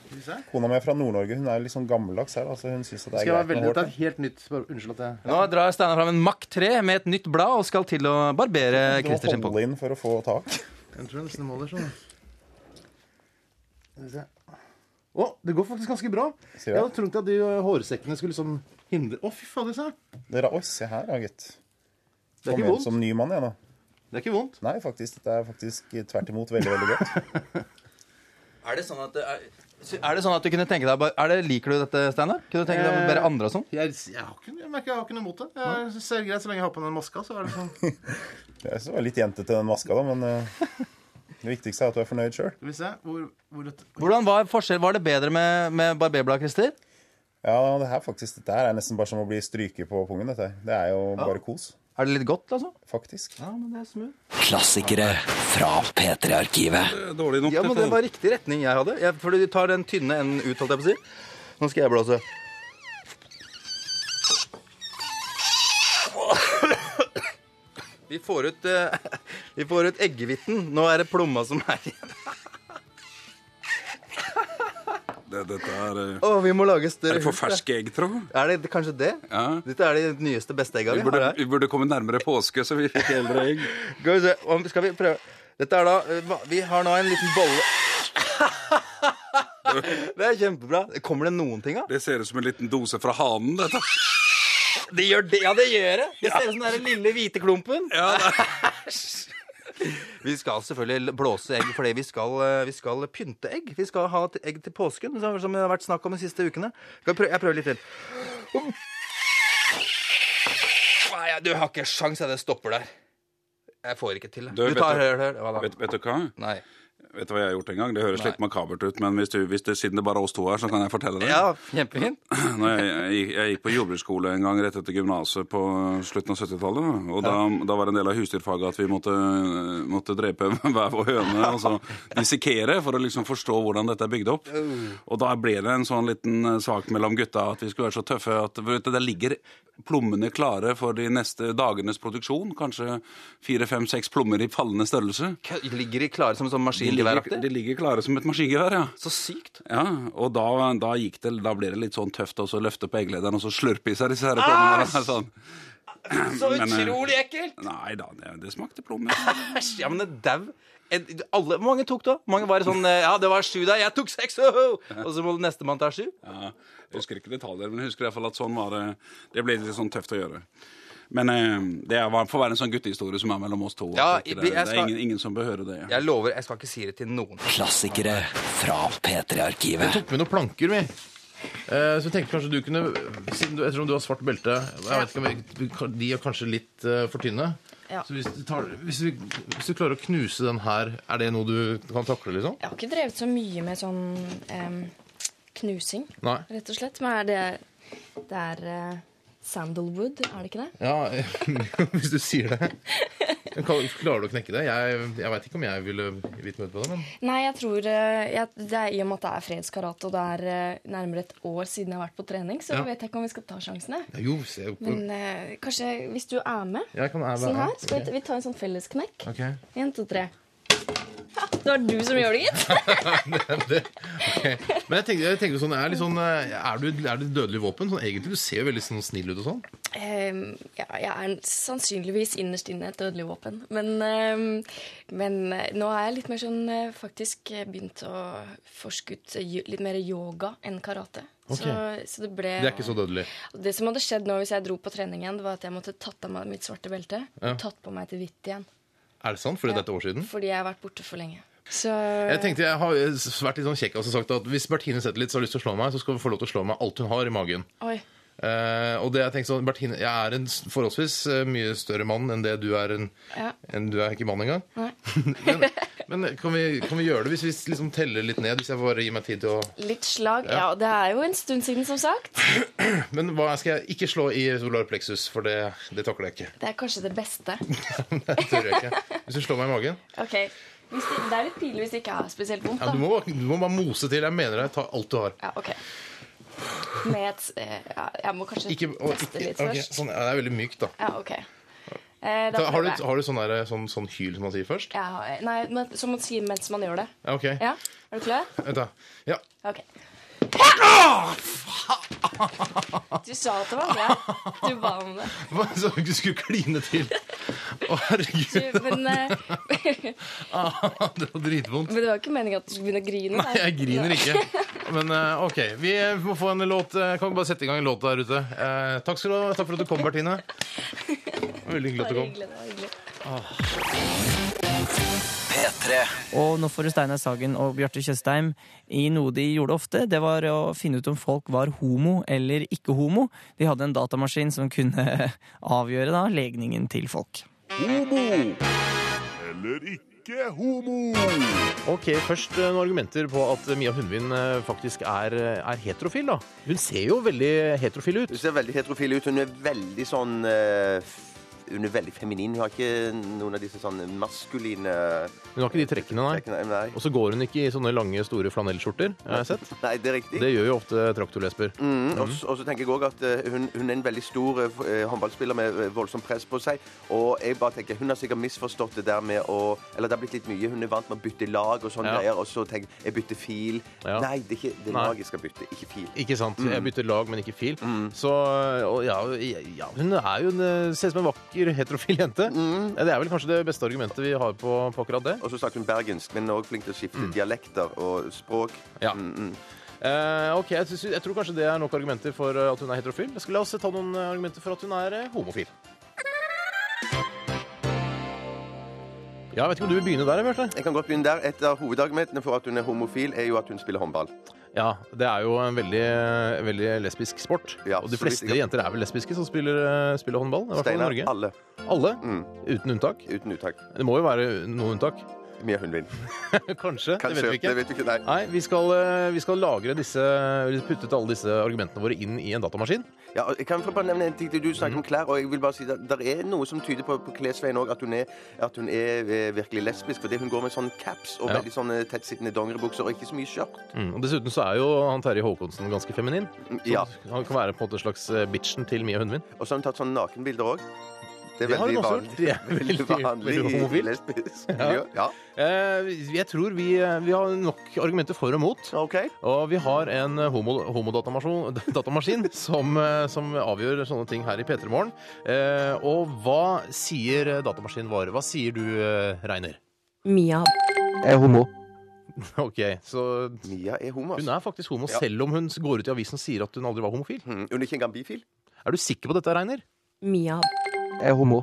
Skal vi se.
Kona mi er fra Nord-Norge. Hun er jo litt sånn gammeldags her. Altså, hun syns det er
Skal jeg være
greit med
veldig,
hår.
dette er helt nytt bare- Unnskyld at jeg
Nå drar Steinar fram en Mack 3 med et nytt blad og skal til å barbere
Du må
Christer sin
holde inn for å få tak.
Jeg tror jeg nesten måler sånn. Skal vi se. Å, det går faktisk ganske bra.
Sier
Jeg
du det?
hadde trodd at de eh, hårsekkene skulle liksom hindre Å, fy fader, se!
Dere, oi, se her, ja, gutt.
Det er
Kom
ikke
hjem
vondt.
Som ny mann, jeg, nå.
Det er ikke vondt.
Nei, faktisk. Dette er faktisk eh, tvert imot veldig, veldig godt.
Er det sånn at det er, er det sånn at du kunne tenke deg å bar- er det, Liker du dette, Steinar? Kunne du tenke deg å barbere andre og sånn?
Eh, Jeg, jeg, har ikke, jeg merker jeg har ikke noe mot det. Jeg synes det er greit Så lenge jeg har på den maska, så er det sånn. Skal
Jeg så litt jentete den maska, da, men eh, det viktigste er at du er fornøyd sjøl.
vi se hvor, hvor dette
Hvordan var forskjell? Var det bedre med, med barberblad, Christer?
Ja, det her faktisk, dette her er nesten bare som å bli stryket på pungen. Dette. her. Det er jo bare kos.
Er det litt godt, altså?
Faktisk.
Ja, men det er smooth.
Klassikere fra
eh,
P3-arkivet.
Dårlig nok. Ja, men det var riktig retning jeg hadde. Jeg, fordi du tar den tynne enden ut, holdt jeg på å si. Nå skal jeg blåse. Vi får ut, eh, vi får ut eggehvitten. Nå er det plomma som er igjen.
Det, dette er eh,
Å, vi må lage
Er
større
det for
hus, da.
ferske egg, tro?
Er det kanskje det?
Ja.
Dette er de nyeste, beste egga
Vi
vi har
burde,
her.
vi burde komme nærmere påske, så vi fikk eldre egg.
Skal vi se, om- skal vi prøve Dette er da eh, hva- Vi har nå en liten bolle Det er kjempebra. Kommer det noen ting, da?
Det ser ut som en liten dose fra hanen, dette.
Det gjør det, ja, det gjør det. Det ser ut som det er den lille hvite klumpen. vi skal selvfølgelig blåse egg, fordi vi skal, eh, vi skal pynte egg. Vi skal ha et egg til påsken, som som det har vært snakk om de siste ukene. Skal vi prø- jeg prøver litt til. Nei, jeg- du har ikke sjans, jeg. Det stopper der. Jeg får ikke til det.
Du,
Du
vet
tar
du-
hør, hør. Hva da?
Vet, vet du hva? Vet du hva jeg har gjort en gang? Det høres
Nei.
litt makabert ut, men hvis, du, hvis det, siden det bare er oss to her, så kan jeg fortelle det.
Ja, kjempefint.
Når jeg, jeg, gikk- jeg gikk på jordbruksskole en gang rett etter gymnaset på slutten av 70-tallet. da. Og da, da var det en del av husdyrfaget at vi måtte, måtte drepe hver vår høne og så dissekere for å liksom forstå hvordan dette er bygd opp. Og da ble det en sånn liten eh, sak mellom gutta at vi skulle være så tøffe at vet du, der ligger plommene klare for de neste dagenes produksjon. Kanskje fire, fem, seks plommer i fallende størrelse.
Ligger de klare som sånn
De ligger, de ligger klare som et maskingevær, ja.
Så sykt.
Ja, og da, da, gikk det, da ble det litt sånn tøft å så løfte på egglederen og så slurpe i seg disse her plommene.
Æsj!
Sånn.
Så
Men, eh,
utrolig ekkelt!
Nei da, det, det smakte plommer.
Æsj, ja, men det dau. En- Alle, hvor mange tok da? Mange var sånn eh, Ja, det var sju der, jeg tok seks! oh, oh!» Og så må nestemann ta sju.
Ja, jeg husker ikke detaljer, men jeg husker i hvert fall at sånn var det. Det ble litt sånn tøft å gjøre. Men eh, det var- får være en sånn guttehistorie som er mellom oss to.
Ja,
at ikke
vi-
det,
jeg
det
skal-
er ingen, ingen som bør høre det.
Jeg lover, jeg skal ikke si det til noen.
Klassikere fra
Jeg
P3-arkivet.
tok med noen planker, vi. Eh, så jeg tenkte kanskje du kunne siden du, Ettersom du har svart belte jeg vet ikke om jeg, De er kanskje litt eh, for tynne.
Ja.
Så hvis du, tar, hvis, vi, hvis du klarer å knuse den her, er det noe du kan takle? liksom?
Jeg har ikke drevet så mye med sånn em, knusing,
Nei.
rett og slett. Men er det Det er eh, sandalwood, er det ikke det?
Ja, hvis du sier det. Men kan- Klarer du å knekke det? Jeg, jeg veit ikke om jeg ville gitt meg ut på det. men...
Nei, jeg tror eh, jeg, det er, I og med at det er fredskarate, og det er eh, nærmere et år siden jeg har vært på trening, så
Ja.
vet jeg ikke om vi skal ta sjansene.
Ja, jo, se på
Men eh, kanskje hvis du er med
Jeg kan være med,
sånn
ja.
her, skal
Ok.
vi, vi ta en sånn fellesknekk.
Ok.
En, to, tre. Ja, det var du som gjør det, gitt.
Men jeg tenker, jeg tenker sånn, er, litt sånn, eh, er du er du et dødelig våpen? Sånn, egentlig, Du ser jo veldig sånn snill ut og sånn.
Ehm, ja, jeg er sannsynligvis innerst inne et dødelig våpen. Men, ehm, men eh, nå er jeg litt mer sånn eh, faktisk eh, begynt å forske ut eh, yo- litt mer yoga enn karate.
Ok.
Så, så det ble
Det er ikke så dødelig.
Det som hadde skjedd nå hvis jeg dro på trening igjen, det var at jeg måtte tatt av meg mitt svarte belte
Ja.
og tatt på meg til hvitt igjen.
Er det sant? Fordi
Ja.
dette er år siden?
Fordi jeg har vært borte for lenge. Så
Jeg tenkte jeg har vært litt sånn kjekk og så sagt at hvis Bertine Zetlitz har lyst til å slå meg, så skal hun få lov til å slå meg alt hun har i magen.
Oi.
Eh, og det jeg tenkte sånn, Bertine, jeg er en s- forholdsvis eh, mye større mann enn det du er. En,
Ja.
enn du er ikke mann engang. men men kan, vi, kan vi gjøre det hvis vi s- liksom teller litt ned? Hvis jeg får gi meg tid til å
Litt slag.
Ja.
Ja, det er jo en stund siden, som sagt.
Men hva skal jeg ikke slå i solar plexus, for det, det takler jeg ikke.
Det er kanskje det beste.
Det tør jeg ikke. Hvis du slår meg i magen
Ok, hvis det, det er litt pinlig hvis det ikke er spesielt vondt,
ja, du,
da.
må, du må bare mose til. Jeg mener deg. Ta alt du har.
Ja, ok. Med et eh, ja, Jeg må kanskje
Ikke, og,
teste
ikke,
litt
ok,
først.
sånn, ja, det er veldig mykt, da.
Ja, ok. Eh, da
Ta, har,
prøver
du,
jeg.
har du sånn, der, sånn, sånn hyl som man sier først?
Jeg har- Nei, men, som man sier mens man gjør det.
Ja, ok.
Ja? Er du klar?
Vent, da. Ja.
Ok. Du sa at det var bra. Du ba om det.
Hva sa du du skulle kline til? Å, herregud.
Du, men, eh,
Ah, det var dritvondt.
men det var ikke meningen at du skulle begynne å grine.
Nei, jeg griner
Nei.
ikke. Men eh, ok, vi må få en låt. Eh, Kan vi bare sette i gang en låt der ute? Eh, takk skal du ha. Takk for at du kom, Bertine. Veldig hyggelig at du kom.
Hyggelig, det var hyggelig.
Og nå får du Steinar Sagen og Bjarte Tjøstheim i noe de gjorde ofte. Det var å finne ut om folk var homo eller ikke homo. De hadde en datamaskin som kunne avgjøre da legningen til folk.
Homo eller ikke homo.
Ok, Først eh, noen argumenter på at Mia Hundvin eh, faktisk er, eh, er heterofil. da. Hun ser jo veldig heterofil ut.
Hun ser veldig heterofil ut. Hun er veldig sånn eh, Hun er veldig feminin. Hun har ikke noen av disse sånn maskuline
Hun har ikke de trekkene, nei. Og så går hun ikke i sånne lange, store flanellskjorter. har jeg sett.
Nei, det er riktig.
Det gjør jo ofte traktorlesber.
Mm, og,
Mhm.
s- og så tenker jeg også at eh, hun, hun er en veldig stor eh, f- eh, håndballspiller med eh, voldsomt press på seg. Og jeg bare tenker, hun har sikkert misforstått det der med å Eller det har blitt litt mye. Hun er vant med å bytte lag og sånne
Ja.
greier. Og så tenker jeg jeg bytter fil.
Ja.
Nei, det er ikke det er
Nei.
lag jeg skal bytte, ikke fil.
Ikke sant.
Mm.
Jeg bytter lag, men ikke fil. Så og ja, ja, hun er jo en, eh, ser ut som en vakker heterofil jente. Det er vel kanskje det beste argumentet vi har på, på akkurat det.
Mm. Og så snakker hun bergensk, men også flink til å skifte
Mm.
dialekter og språk. Mm, mm.
Eh, ok, jeg, synes, jeg tror kanskje det er nok argumenter for eh, at hun er heterofil. Jeg skal la oss ta noen eh, argumenter for at hun er eh, homofil. Ja, jeg vet ikke om du vil begynne der, Bjarte?
Jeg kan godt begynne der. Et av hovedargumentene for at hun er homofil, er jo at hun spiller håndball.
Ja, det er jo en veldig, veldig lesbisk sport. og de
så vidt
fleste
jeg kan-
jenter er vel lesbiske som spiller, eh, spiller håndball? I hvert fall i
Steinar,
Norge.
alle. Mm.
Alle? Uten unntak?
Uten unntak.
Det må jo være noe unntak.
Mia Hundvin.
Kanskje.
Kanskje,
Det vet vi ikke.
det vet vi ikke, nei.
vi, skal, eh, vi skal lagre disse eller Putte eh, alle disse argumentene våre inn i en datamaskin. Mhm.
Ja, og jeg kan bare nevne en ting til. Du snakker om klær, og jeg vil bare si at det er noe som tyder på, på klesveien òg at hun er, at hun er eh, virkelig lesbisk. Fordi hun går med sånne caps og
Ja.
veldig sånne tettsittende dongeribukser og ikke så mye skjørt.
Mm, og Dessuten så er jo han Terje Håkonsen ganske feminin. Så
Ja.
Han kan være på en måte slags eh, bitchen til Mia Hundvin.
Og så har hun tatt sånne nakenbilder òg.
Det har hun også gjort. Det er veldig- veldig homofilt.
lesbisk
Ja.
miljø. Ja.
Eh, vi- jeg tror vi, eh, vi har nok argumenter for og mot. Og vi har en eh, homo- homodatamasjon datamaskin som, eh, som avgjør sånne ting her i P3 Morgen. Eh, og hva sier eh, datamaskinen vår? Hva sier du, eh, Reiner?
Mia.
Jeg er homo. Ok, så
Mia er homo. altså.
Hun er faktisk homo,
Ja. Mm,
selv om hun går ut i avisen og sier at hun aldri var homofil.
Hun er ikke engang bifil.
Er du sikker på dette, Reiner?
Mia.
Jeg er homo.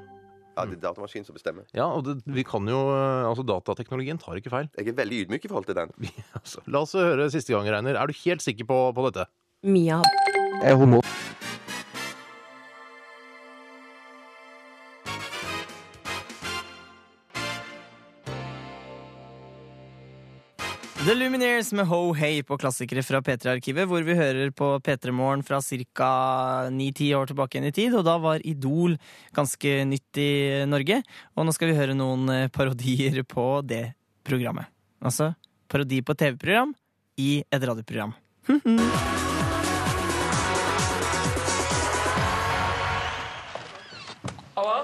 Ja, det er datamaskinen som bestemmer.
Ja, og det, vi kan jo eh, Altså, datateknologien tar ikke feil.
Jeg er veldig ydmyk i forhold til den.
altså, la oss høre siste gang, Reiner. Er du helt sikker på, på dette?
Mia.
Jeg er homo.
The Lumineers med Ho Hey på klassikere fra P3-arkivet, hvor vi hører på P3-morgen fra ca. 9-10 år tilbake igjen i tid, og da var Idol ganske nytt i Norge. Og nå skal vi høre noen eh, parodier på det programmet. Altså parodi på TV-program i et radioprogram.
Mm-hmm.
Halla,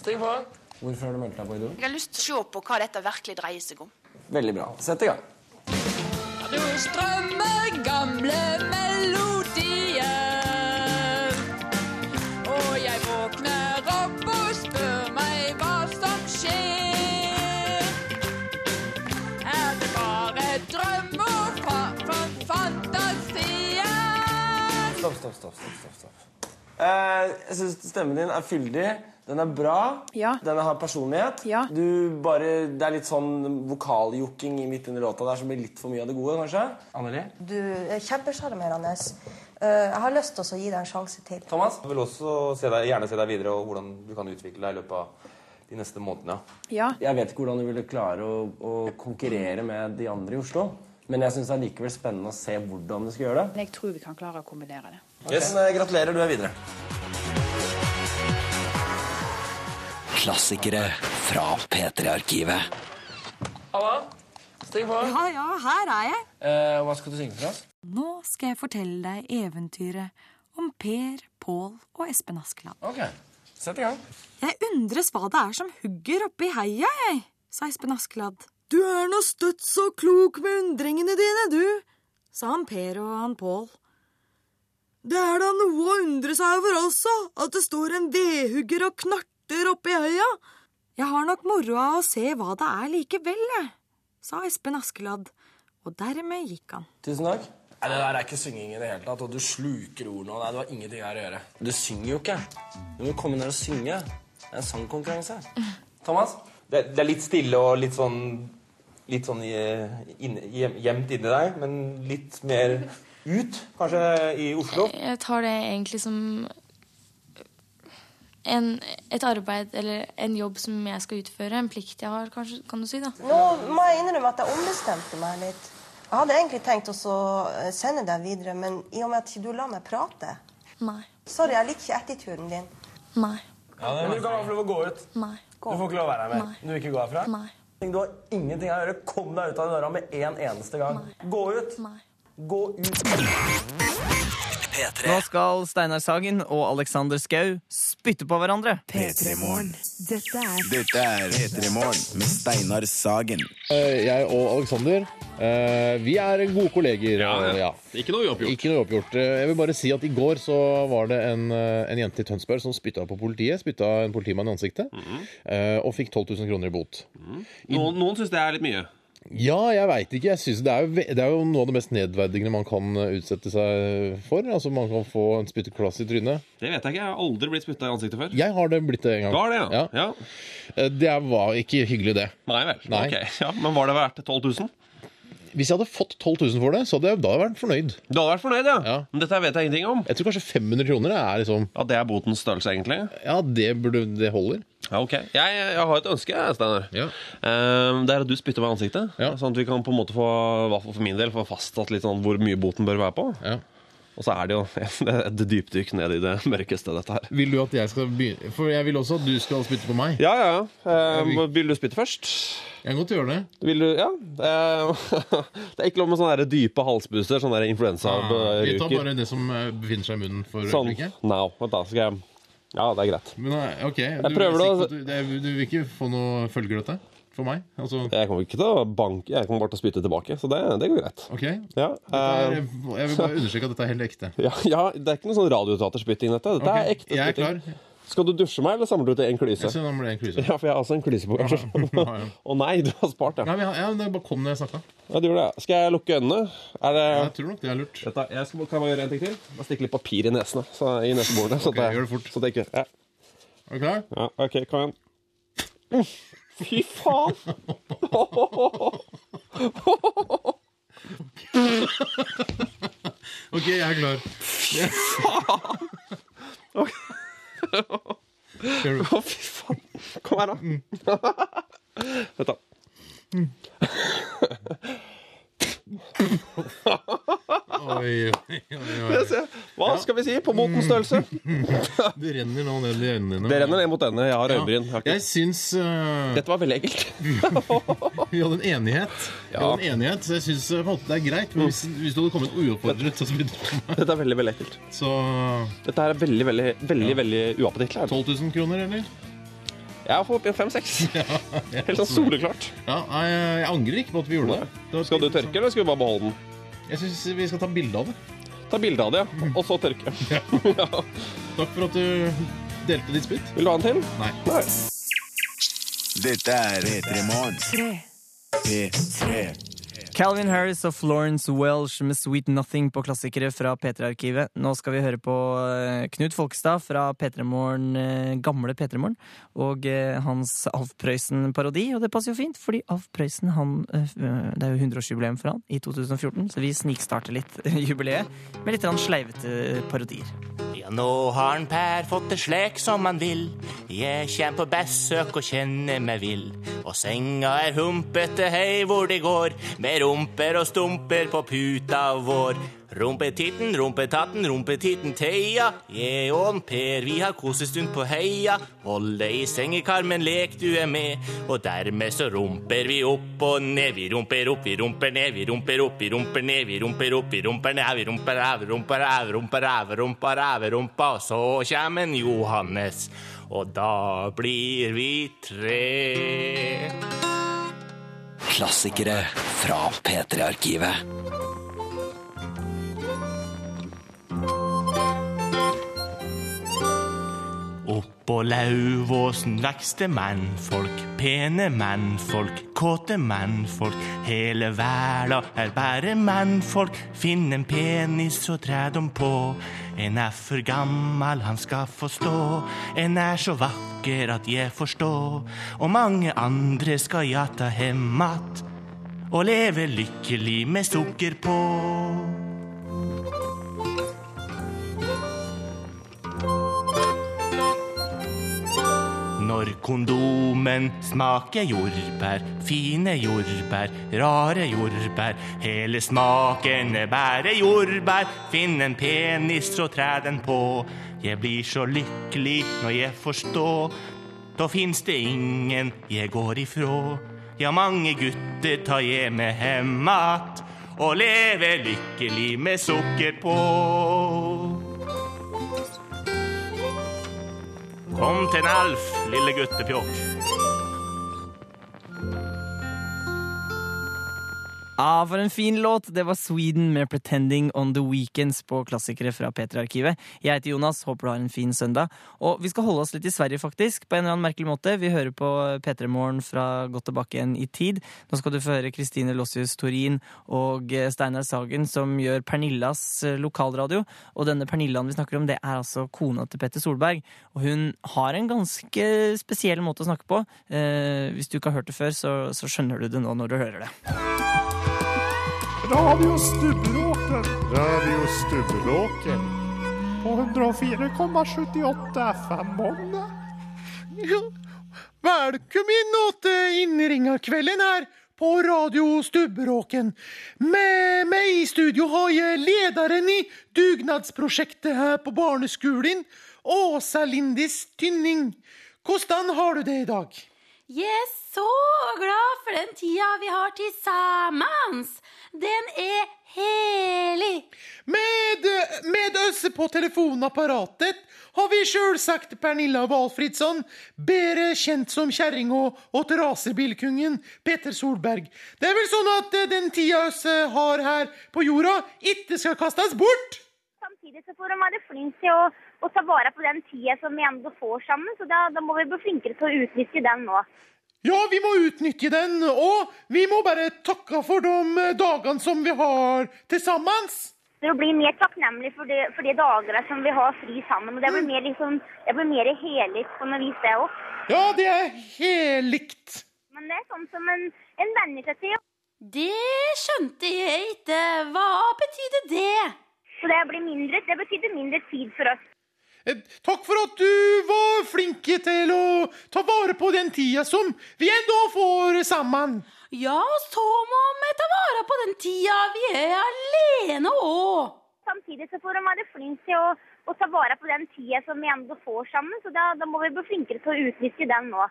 stig på.
Hvorfor har du meldt deg på Idol?
Jeg har lyst til å se på hva dette virkelig dreier seg om.
Veldig bra. Sett i gang.
Du strømmer gamle melodier. Og jeg våkner opp og spør meg hva som skjer. Er det bare drøm og fa fa fantasier?
Stopp, stopp, stopp. stopp, stopp, stopp. Eh, jeg syns stemmen din er fyldig. Den er bra. Den har personlighet. Du bare, Det er litt sånn vokaljokking i midt under låta der som blir litt for mye av det gode, kanskje? Anneli?
Du er kjempesjarmerende.
Eh, Jeg har lyst til også å gi deg en sjanse til.
Thomas, jeg vil også se deg, gjerne se deg videre og hvordan du kan utvikle deg i løpet av de neste månedene.
Ja. Jeg vet ikke hvordan du ville klare å, å konkurrere med de andre i Oslo. Men jeg syns det er likevel spennende å se hvordan du skal gjøre det.
Jeg tror vi kan klare å kombinere det.
Men, eh, gratulerer, du er videre.
Klassikere fra P3-arkivet.
Halla. Stig på.
Ja, ja, her er jeg.
Eh, hva skal du synge for oss?
Nå skal jeg fortelle deg eventyret om Per, Pål og Espen Askeland.
Ok, Sett i gang.
Jeg undres hva det er som hugger oppe i heia, jeg, sa Espen Askeladd. Du er nå støtt så klok med undringene dine, du, sa han Per og han Pål. Det er da noe å undre seg over også, at det står en vedhugger og knarter oppi øya. Jeg har nok moro av å se hva det er likevel, jeg, sa Espen Askeladd, og dermed gikk han.
Tusen takk. Nei, Det der er ikke synging i det hele tatt. Og du sluker ordene. og Nei, du har ingenting her å gjøre. Du synger jo ikke. Du må komme ned og synge. Det er en sangkonkurranse. Thomas?
Det, det er litt stille og litt sånn Litt sånn i- inne- gjem- gjemt inni deg, men litt mer ut, kanskje, i Oslo.
Jeg tar det egentlig som en, et arbeid eller en jobb som jeg skal utføre. En plikt jeg har, kanskje, kan du si. da.
Nå må jeg innrømme at jeg ombestemte meg litt. Jeg hadde egentlig tenkt også å eh, sende deg videre, men i og med at ikke du la meg prate
Nei.
Sorry, jeg liker ikke attituden din.
Nei.
Men du kan i hvert fall få gå ut.
Nei.
Du får ikke lov å være her mer. Du vil ikke gå herfra?
Nei.
Du har ingenting her å gjøre. Kom deg ut av døra med en eneste gang. Gå ut. Gå ut.
Nå skal Steinar Sagen og Alexander Skau spytte på hverandre.
Dette er
Dette er P3 Morgen med Steinar Sagen.
Eh, Jeg og Alexander eh, vi er gode kolleger.
Ja,
og-
ja.
Ikke noe uoppgjort. Eh, Jeg vil bare si at I går så var det en, eh, en jente i Tønsberg som spytta på politiet. Spytta en politimann i ansiktet. eh, Og fikk 12 000 kroner i bot.
Noen, noen syns det er litt mye.
Ja, jeg veit ikke. Jeg synes det, er jo, ve- det er jo noe av det mest nedverdigende man kan eh, utsette seg for. Altså Man kan få en spytteklass i trynet.
Det vet jeg ikke. Jeg har aldri blitt spytta i ansiktet før.
Jeg har det blitt det en gang.
Du har det, ja. ja.
Eh, Det var ikke hyggelig, det.
Nei vel.
Nei.
Ok. Ja, men var det verdt 12 000?
Hvis jeg hadde fått 12 000 for det, så hadde jeg da vært fornøyd.
Du hadde vært fornøyd, ja. Men dette vet jeg ingenting om.
Jeg tror kanskje 500 kroner er liksom
Ja, Det er botens størrelse, egentlig?
Ja, det, burde, det holder.
Ja, ok. Jeg, jeg har et ønske, jeg, Steinar. Ehm, det er at du spytter meg i ansiktet. Sånn at vi kan på en måte få i hvert fall for min del, få fastsatt litt sånn hvor mye boten bør være på. Og så er det jo et dypdykk ned i det mørkeste, dette her.
Vil du at jeg skal begynne? For jeg vil også at du skal spytte på meg.
Ja, ja, ja. Ehm, vil du spytte først?
Jeg kan godt gjøre det.
Vil du, ja. Ehm, det er ikke lov med sånne der dype halsbuser, sånne der
Ah, Vi tar
influensaruker.
bare det som eh, befinner seg i munnen for
Sånn.
øyeblikket.
Now. Vent, da skal jeg Ja, det er greit.
Men eh, ok, du,
Jeg prøver
er
å-
sikker på at du, det, er- du vil ikke få noe følger dette? For meg? Altså,
Jeg kommer ikke til å banke, jeg kommer bare til å spytte tilbake, så det, det går greit.
ok.
Ja,
Dette er,
ehm,
jeg vil bare understreke at dette er helt ekte.
Ja, ja, det er ikke noe sånn radioteaterspytting, dette. Dette
Ok,
er ekte
jeg er
spytting. Skal du dusje meg, eller samler du til én klyse?
Jeg ser nå blir det en klyse.
Ja, for jeg har også en klyse på, kanskje. Å nei, du har spart, ja.
Nei, men jeg, ja, men det bare kom når jeg snakka.
Ja, du gjorde det. Skal jeg lukke øynene? Er det...
Jeg tror nok det er lurt.
Dette, jeg skal, kan jeg bare gjøre en ting til? Bare stikke litt papir i nesene. Så, I neseborene. Så
Ok,
at jeg-
gjør det fort.
Så at jeg ikke ja.
Er du klar?
ja, OK, kom igjen. Fy faen!
OK, jeg er klar.
Å, fy faen. Kom her, da.
Mm.
Vent, da.
Oi, oi, oi, oi.
Det ser- Hva skal vi si? På motens størrelse?
Det renner nå ned i øynene dine.
Det renner ned mot denne. Jeg har
Ja.
øyebryn. Jeg har ikke-
Jeg syns eh,
Dette var veldig ekkelt.
Vi hadde en enighet, Vi
Ja.
hadde en enighet så jeg syns det er greit. Men hvis, hvis du hadde kommet uoppfordret, så spydde du på meg.
Dette er veldig, veldig ekkelt.
Så
Dette her er veldig, veldig, veldig, veldig uappetittlig.
12 000 kroner, eller?
Ja, få oppi en fem-seks. Helt sånn soleklart.
Ja, nei, jeg angrer ikke på at vi gjorde det.
Skal du tørke, eller skal vi bare beholde den?
sånn. Jeg syns vi skal ta bilde av det. Mm.
Ta bilde av det, ja. og så tørke. Ja.
Takk for at du delte ditt spytt.
Vil du ha en til?
Nei.
Dette er P3 Morgen. P3.
Calvin Harris og Florence Welsh med Sweet Nothing på klassikere fra P3-arkivet. Nå skal vi høre på eh, Knut Folkestad fra P3-morgen, eh, gamle P3-morgen, og eh, hans Alf Prøysen-parodi. Og det passer jo fint, fordi Alf Prøysen han, eh, f- eh, Det er jo 100-årsjubileum for han i 2014, så vi snikstarter litt jubileet med litt sånn sleivete parodier.
Ja, nå har en Per fått det slik som han vil. Jeg kjem på besøk og kjenner meg vill. Og senga er humpete, hei hvor det går. Med rumper og stumper på puta vår. Rumpetitten, rumpetatten, rumpetitten Theia. Jeg og en Per, vi har kosestund på heia. Hold deg i sengekarmen, lek du er med. Og dermed så rumper vi opp og ned. Vi rumper opp, vi rumper ned, vi rumper opp, vi rumper ned, vi rumper opp, vi rumper ned, vi rumper av, rumper av, rumper av, rumper av, rumpa. Og så kommer en Johannes, og da blir vi tre.
Klassikere fra P3-arkivet.
Oppå Lauvåsen vokste mannfolk, pene mannfolk, kåte mannfolk. Hele verda er bare mannfolk. Finn en penis og træ dem på. En er for gammal, han skal få stå. En er så vakker at jeg forstår. Og mange andre skal ja ta hem att og leve lykkelig med sukker på. Når kondomen smaker jordbær, fine jordbær, rare jordbær, hele smaken er bare jordbær, finn en penis og træ den på. Jeg blir så lykkelig når jeg forstår, da fins det ingen jeg går ifrå. Ja, mange gutter tar jeg med hjem att, og lever lykkelig med sukker på. Kom til en Alf, lille guttepjokk.
Ja, Ah, for en fin låt! Det var Sweden med 'Pretending On The Weekends' på klassikere fra P3-arkivet. Jeg heter Jonas, håper du har en fin søndag. Og vi skal holde oss litt i Sverige, faktisk, på en eller annen merkelig måte. Vi hører på P3 Morgen fra godt tilbake igjen i tid. Nå skal du få høre Kristine Lossius Torin og eh, Steinar Sagen, som gjør Pernillas eh, lokalradio. Og denne Pernillaen vi snakker om, det er altså kona til Petter Solberg. Og hun har en ganske spesiell måte å snakke på. Eh, hvis du ikke har hørt det før, så, så skjønner du det nå når du hører det.
Radiostubbelåten. Radiostubbelåken. På 104,78 FM Bonde.
Ja, Välkommen åt eh, inringarkvällen här på Radio Stubbråken. Med mig i studio har jag ledaren i dugnadsprojektet här på barneskolan, Åsa Lindis Tynning. Hvordan har du det idag?
Jeg er så glad for den tida vi har til sammen. Den er helig.
Med, eh, med oss på telefonapparatet har vi sjølsagt Pernilla Walfridsson, bedre kjent som kjerringa og racerbilkongen Peter Solberg. Det er vel sånn at eh, den tida oss eh, har her på jorda, ikke skal kastes bort?
Samtidig så får de være flinke til å, å ta vare på den tida som vi enda får sammen. Så da, da må vi bli flinkere til å utnytte den nå.
Ja, vi må utnytte den, og vi må bare takke for de eh, dagene som vi har til sammen.
For å bli mer takknemlig for, det, for de dagene som vi har fri sammen. Og det blir mer, liksom, det blir mer helig på noe vis, det òg.
Ja, det er helikt.
Men det er sånn som en, en venner seg til.
Det skjønte jeg ikke. Hva betydde det?
Så det, blir mindre, det betydde mindre tid for oss.
Eh, Takk for at du var flink til å ta vare på den tida som vi ennå får sammen.
Ja, så må vi ta vare på den tida vi er alene òg.
Samtidig så får de være flinke til å, å ta vare på den tida som vi enda får sammen. Så da, da må vi bli flinkere til å utnytte den nå.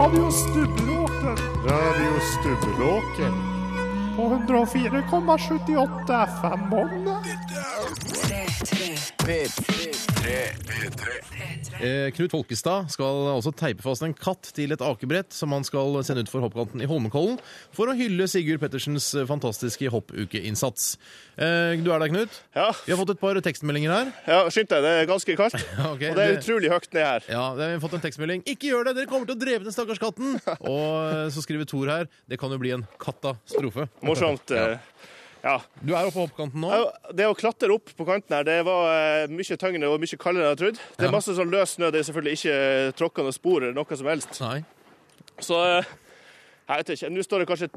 Radiostubbelåten. Radiostubbelåken. På 104,78 FM Bonde.
P3.
Eh, Knut Folkestad skal også teipe fast en katt til et akebrett som han skal sende ut for hoppkanten i Holmenkollen for å hylle Sigurd Pettersens eh, fantastiske hoppukeinnsats. Eh, Du er der, Knut? Ja. Vi har fått et par tekstmeldinger her.
Ja, skynd deg, det er ganske kaldt. og det er
det-
utrolig høyt ned her.
Ja, det har vi fått en tekstmelding. Ikke gjør det! Dere kommer til å drepe den stakkars katten! Og eh, så skriver Thor her. Det kan jo bli en katastrofe.
Morsomt. eh, Ja.
Du er oppe på hoppkanten nå?
Ja, Det å klatre opp på kanten her, det var eh, mye tyngre og mye kaldere enn jeg trodde. Det er masse sånn løs snø, det er selvfølgelig ikke tråkkende spor eller noe som helst. Så eh, jeg vet ikke, nå står det kanskje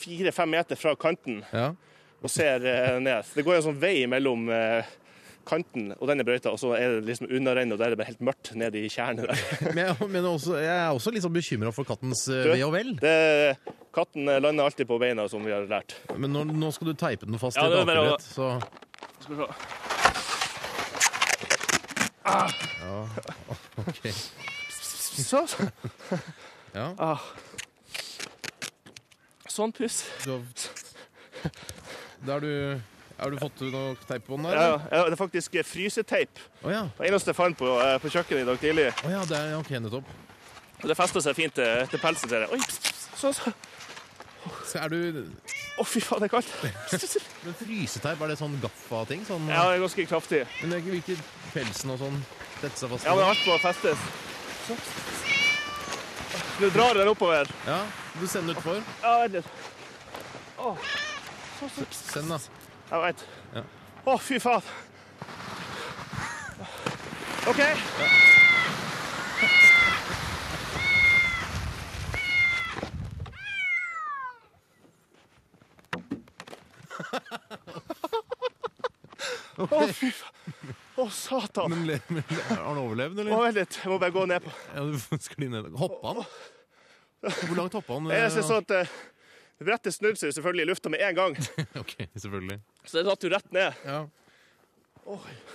fire-fem meter fra kanten
Ja.
og ser eh, ned. Det går jo en sånn vei mellom eh, kanten og denne brøyta, og så er det liksom unna rennet, og der er det bare helt mørkt nede i tjernet der.
Men jeg, men også, jeg er også litt sånn bekymra for kattens eh,
Du,
ve og vel.
Det, katten lander alltid på beina, som vi har lært.
Men nå, nå skal du teipe den fast
Ja,
til
det
et
er bare å-
akebrett, så
Skal vi se.
Ja, ok.
Så, så.
Ja.
Ah. Sånn puss.
Du har... Da har du, har du fått noe teip på den
Ja, ja,
der? eller?
ja, det er faktisk eh, fryseteip.
Å ja.
Det eneste jeg fant på, eh, på kjøkkenet i dag tidlig.
Å ja, det er ok, nettopp.
Og Det festa seg fint til, til pelsen. Til det. Oi, pss, pss, sånn, sånn.
Så er du...
Å, fy faen, det er kaldt.
Men fryseteip, er det sånn gaffa-ting? Sånn,
Ja, det er ganske kraftig.
Men det er ikke virker pelsen og sånn tette seg fast?
Ja, men alt må festes. Nå drar den oppover.
Ja, du sender utfor.
Ja, vent litt. Å, sånn, sånn.
Send, da.
Jeg veit.
Ja.
Å, fy faen. OK. Å, fy faen. Å, satan.
Men, le- men le- har han
Å,
overlevd, eller?
vent litt. Jeg må bare gå ned på
Ja, du får skli ned. Hoppa han? Hvor langt hoppa han?
Jeg ser sånn at eh, brettet snudde seg selvfølgelig i lufta med en gang,
Ok, selvfølgelig.
så det datt jo rett ned.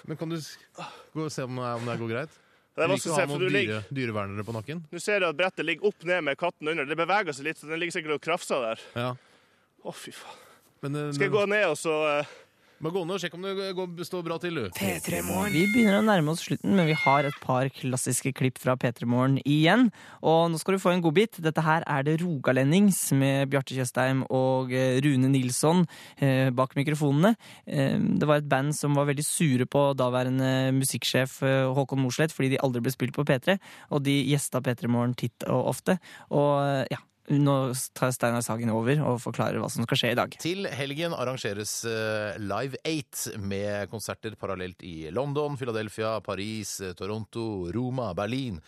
Men kan du s- gå og se om det, er- om det her går greit?
Det er
Vi
vanskelig
vil
å
ikke
se,
ha
for
noen
du ligger-
dyre, dyrevernere på nakken.
Nå ser jeg at brettet ligger opp ned med katten under. Det beveger seg litt, så den ligger sikkert og krafser der.
Ja.
Å, fy faen.
Men, eh,
Skal jeg gå ned og så eh,
Men gå ned og sjekk om det går, står bra til, du.
Vi begynner å nærme oss slutten, men vi har et par klassiske klipp fra P3 Morgen igjen. Og nå skal du få en godbit. Dette her er det Rogalendings med Bjarte Tjøstheim og eh, Rune Nilsson eh, bak mikrofonene. Eh, Det var et band som var veldig sure på daværende musikksjef eh, Håkon Mosleth fordi de aldri ble spilt på P3, og de gjesta P3 Morgen titt og ofte. Og eh, ja, nå tar Steinar Sagen over og forklarer hva som skal skje i dag.
Til helgen arrangeres eh, Live 8 med konserter parallelt i London, Philadelphia, Paris, eh, Toronto, Roma, Berlin,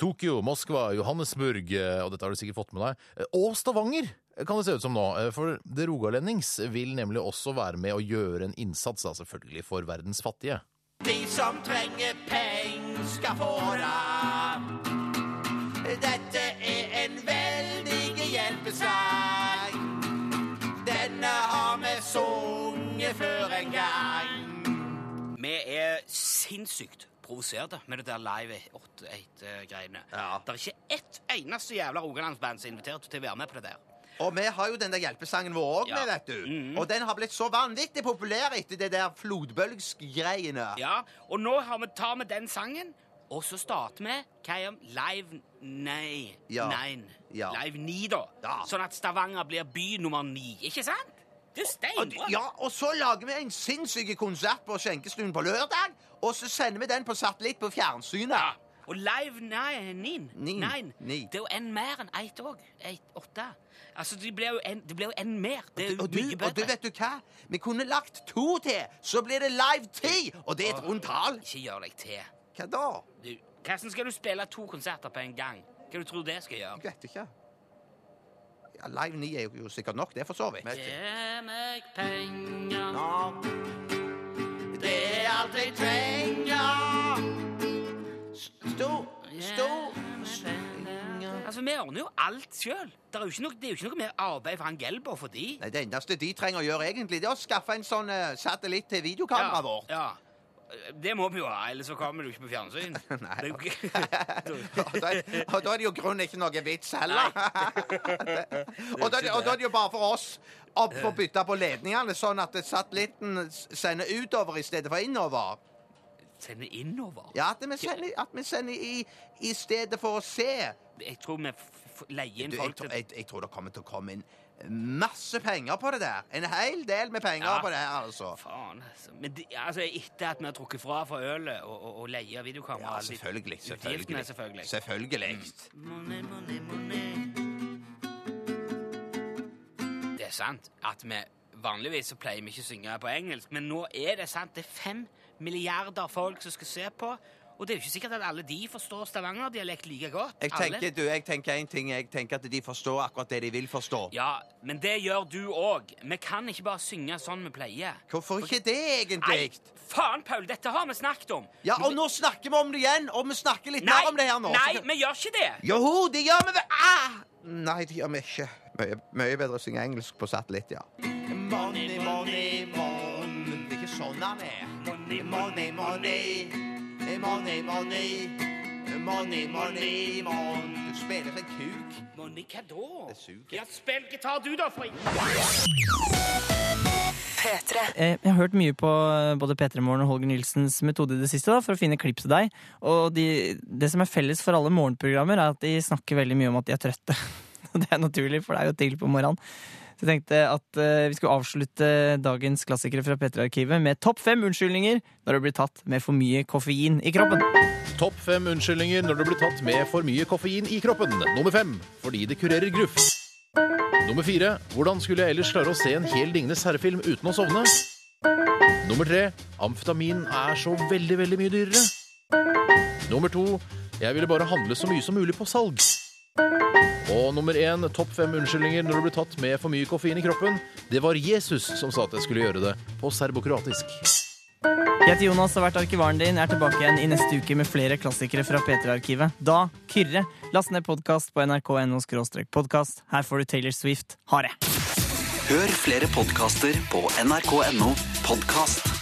Tokyo, Moskva, Johannesburg, eh, og dette har du sikkert fått med deg, eh, og Stavanger! eh, Kan det se ut som nå, eh, for The Rogalendings vil nemlig også være med å gjøre en innsats, da selvfølgelig for verdens fattige.
De som trenger penger skal få det. Dette er en veldig hjelpesang. Denne har vi sunget før en gang.
Vi er sinnssykt provoserte med det der Live 8-8-greiene. Det er ikke ett eneste jævla Rogalandsband som er invitert til å være med på det der.
Og vi har jo den der hjelpesangen vår òg,
Ja. Mhm.
vet du. Og den har blitt så vanvittig populær etter det der flodbølgsgreiene.
Ja, og nå har vi, tar vi den sangen, og så starter vi hva er om Live Nei.
Ja.
Nein.
Ja.
Live 9, da. Sånn at Stavanger blir by nummer 9. Ikke sant? Det er
Og,
steinbra.
ja, og så lager vi en sinnssyk konsert på skjenkestuen på lørdag, og så sender vi den på satellitt på fjernsynet.
Og Live Nine, Nine. Det er jo en mer enn ett òg. Åtte. Altså, det blir jo en, det blir jo en mer. Det er jo
Og du,
mye
og du
bedre.
vet du hva? Vi kunne lagt to til, så blir det live ti! Og det er et rundt tall.
Ikke gjør deg til.
Hva da?
Du, hvordan skal du spille to konserter på en gang? Hva du tror du det skal gjøre?
Jeg vet ikke. Ja, live ni er jo sikkert nok, det, for så vidt.
Gi meg penger.
Det er alt jeg trenger.
Stor, stor
Altså, Vi ordner jo alt sjøl. Det er jo ikke noe, det er jo ikke noe mer arbeid for han Gelber for de.
Nei, Det eneste de trenger å gjøre, egentlig, det er å skaffe en sånn eh, satellitt til videokameraet vårt.
Ja. Det må vi jo ha, ellers så kommer du ikke på fjernsyn. Nei. Det er jo ikke...
og, da, er- og da er det jo grunnen ikke noe vits heller. og, da, er det- og da er det jo bare for oss opp for å bytte på ledningene, sånn at satellitten s- sender utover i stedet for innover.
Sende innover?
Ja, at vi sender, at vi sender i, i stedet for å se.
Jeg tror vi f leier inn
du,
folk
jeg, tror- jeg, jeg tror det kommer til å komme inn masse penger på det der. En hel del med penger
Ja.
på det her, altså.
Faen, altså. Men de, altså, etter at vi har trukket fra for ølet og, og, og leier videokamera
Ja,
litt-
selvfølgelig.
Utgiftene,
Selvfølgelig. Mm.
selvfølgelig.
Selvfølgelig.
Det er sant at vi vanligvis så pleier vi ikke å synge på engelsk, men nå er det sant. Det er fem milliarder folk som skal se på, og det er jo ikke sikkert at alle de forstår Stavanger-dialekt like godt.
Jeg
Alle-
tenker, du, jeg tenker en ting. Jeg tenker at de forstår akkurat det de vil forstå.
Ja, men det gjør du òg. Vi kan ikke bare synge sånn vi pleier.
Hvorfor ikke det, egentlig?
Nei, faen, Paul, dette har vi snakket om.
Ja, og nå snakker vi om det igjen, og vi snakker litt
Nei,
mer om det her nå.
nei, vi gjør ikke det.
Joho, det gjør vi vel ah! Nei, det gjør vi ikke. Mye, mye bedre å synge engelsk på satellitt, ja. Money, money, money. Det er ikke sånn han er. Money, money, money. Money, money. Money, money, money. Du spiller som en kuk.
Money, hva da? Det suger. Ja, spill gitar du, da, for
Eh, Jeg har hørt mye på eh, både P3 Morgen og Holger Nilsens metode i det siste da, for å finne klipp til deg. Og de, det som er felles for alle morgenprogrammer, er at de snakker veldig mye om at de er trøtte. Og Det er naturlig, for det er jo tidlig på morgenen. Så jeg tenkte at eh, vi skulle avslutte dagens klassikere fra P3-arkivet med topp fem unnskyldninger når du blir tatt med for mye koffein i kroppen.
Topp fem unnskyldninger når du blir tatt med for mye koffein i kroppen. Nummer fem fordi det kurerer gruff. Nummer fire hvordan skulle jeg ellers klare å se en hel Ringenes herrefilm uten å sovne? Nummer tre amfetamin er så veldig, veldig mye dyrere. Nummer to jeg ville bare handle så mye som mulig på salg. Og nummer én topp fem unnskyldninger når du blir tatt med for mye koffein i kroppen. Det var Jesus som sa at jeg skulle gjøre det på serbokroatisk.
Jeg heter Jonas og har vært arkivaren din. Jeg er tilbake igjen i neste uke med flere klassikere fra P3-arkivet. Da Kyrre. Last ned podkast på nrk.no podkast. Her får du Taylor Swift. Ha det!
Hør flere podkaster på nrk.no podkast.